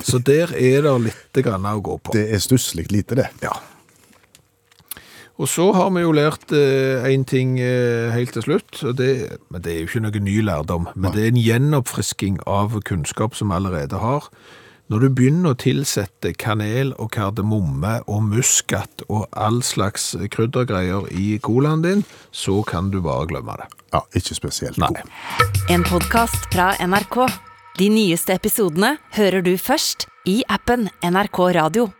Speaker 2: så der er det litt grann å gå på.
Speaker 3: Det er stusslig lite, det.
Speaker 2: Ja. Og så har vi jo lært én ting eh, helt til slutt. Og det, men det er jo ikke noe ny lærdom, men det er en gjenoppfrisking av kunnskap som vi allerede har. Når du begynner å tilsette kanel og kardemomme og muskat og all slags kryddergreier i colaen din, så kan du bare glemme det.
Speaker 3: Ja, ikke spesielt
Speaker 2: Nei.
Speaker 3: god.
Speaker 1: En podkast fra NRK. De nyeste episodene hører du først i appen NRK Radio.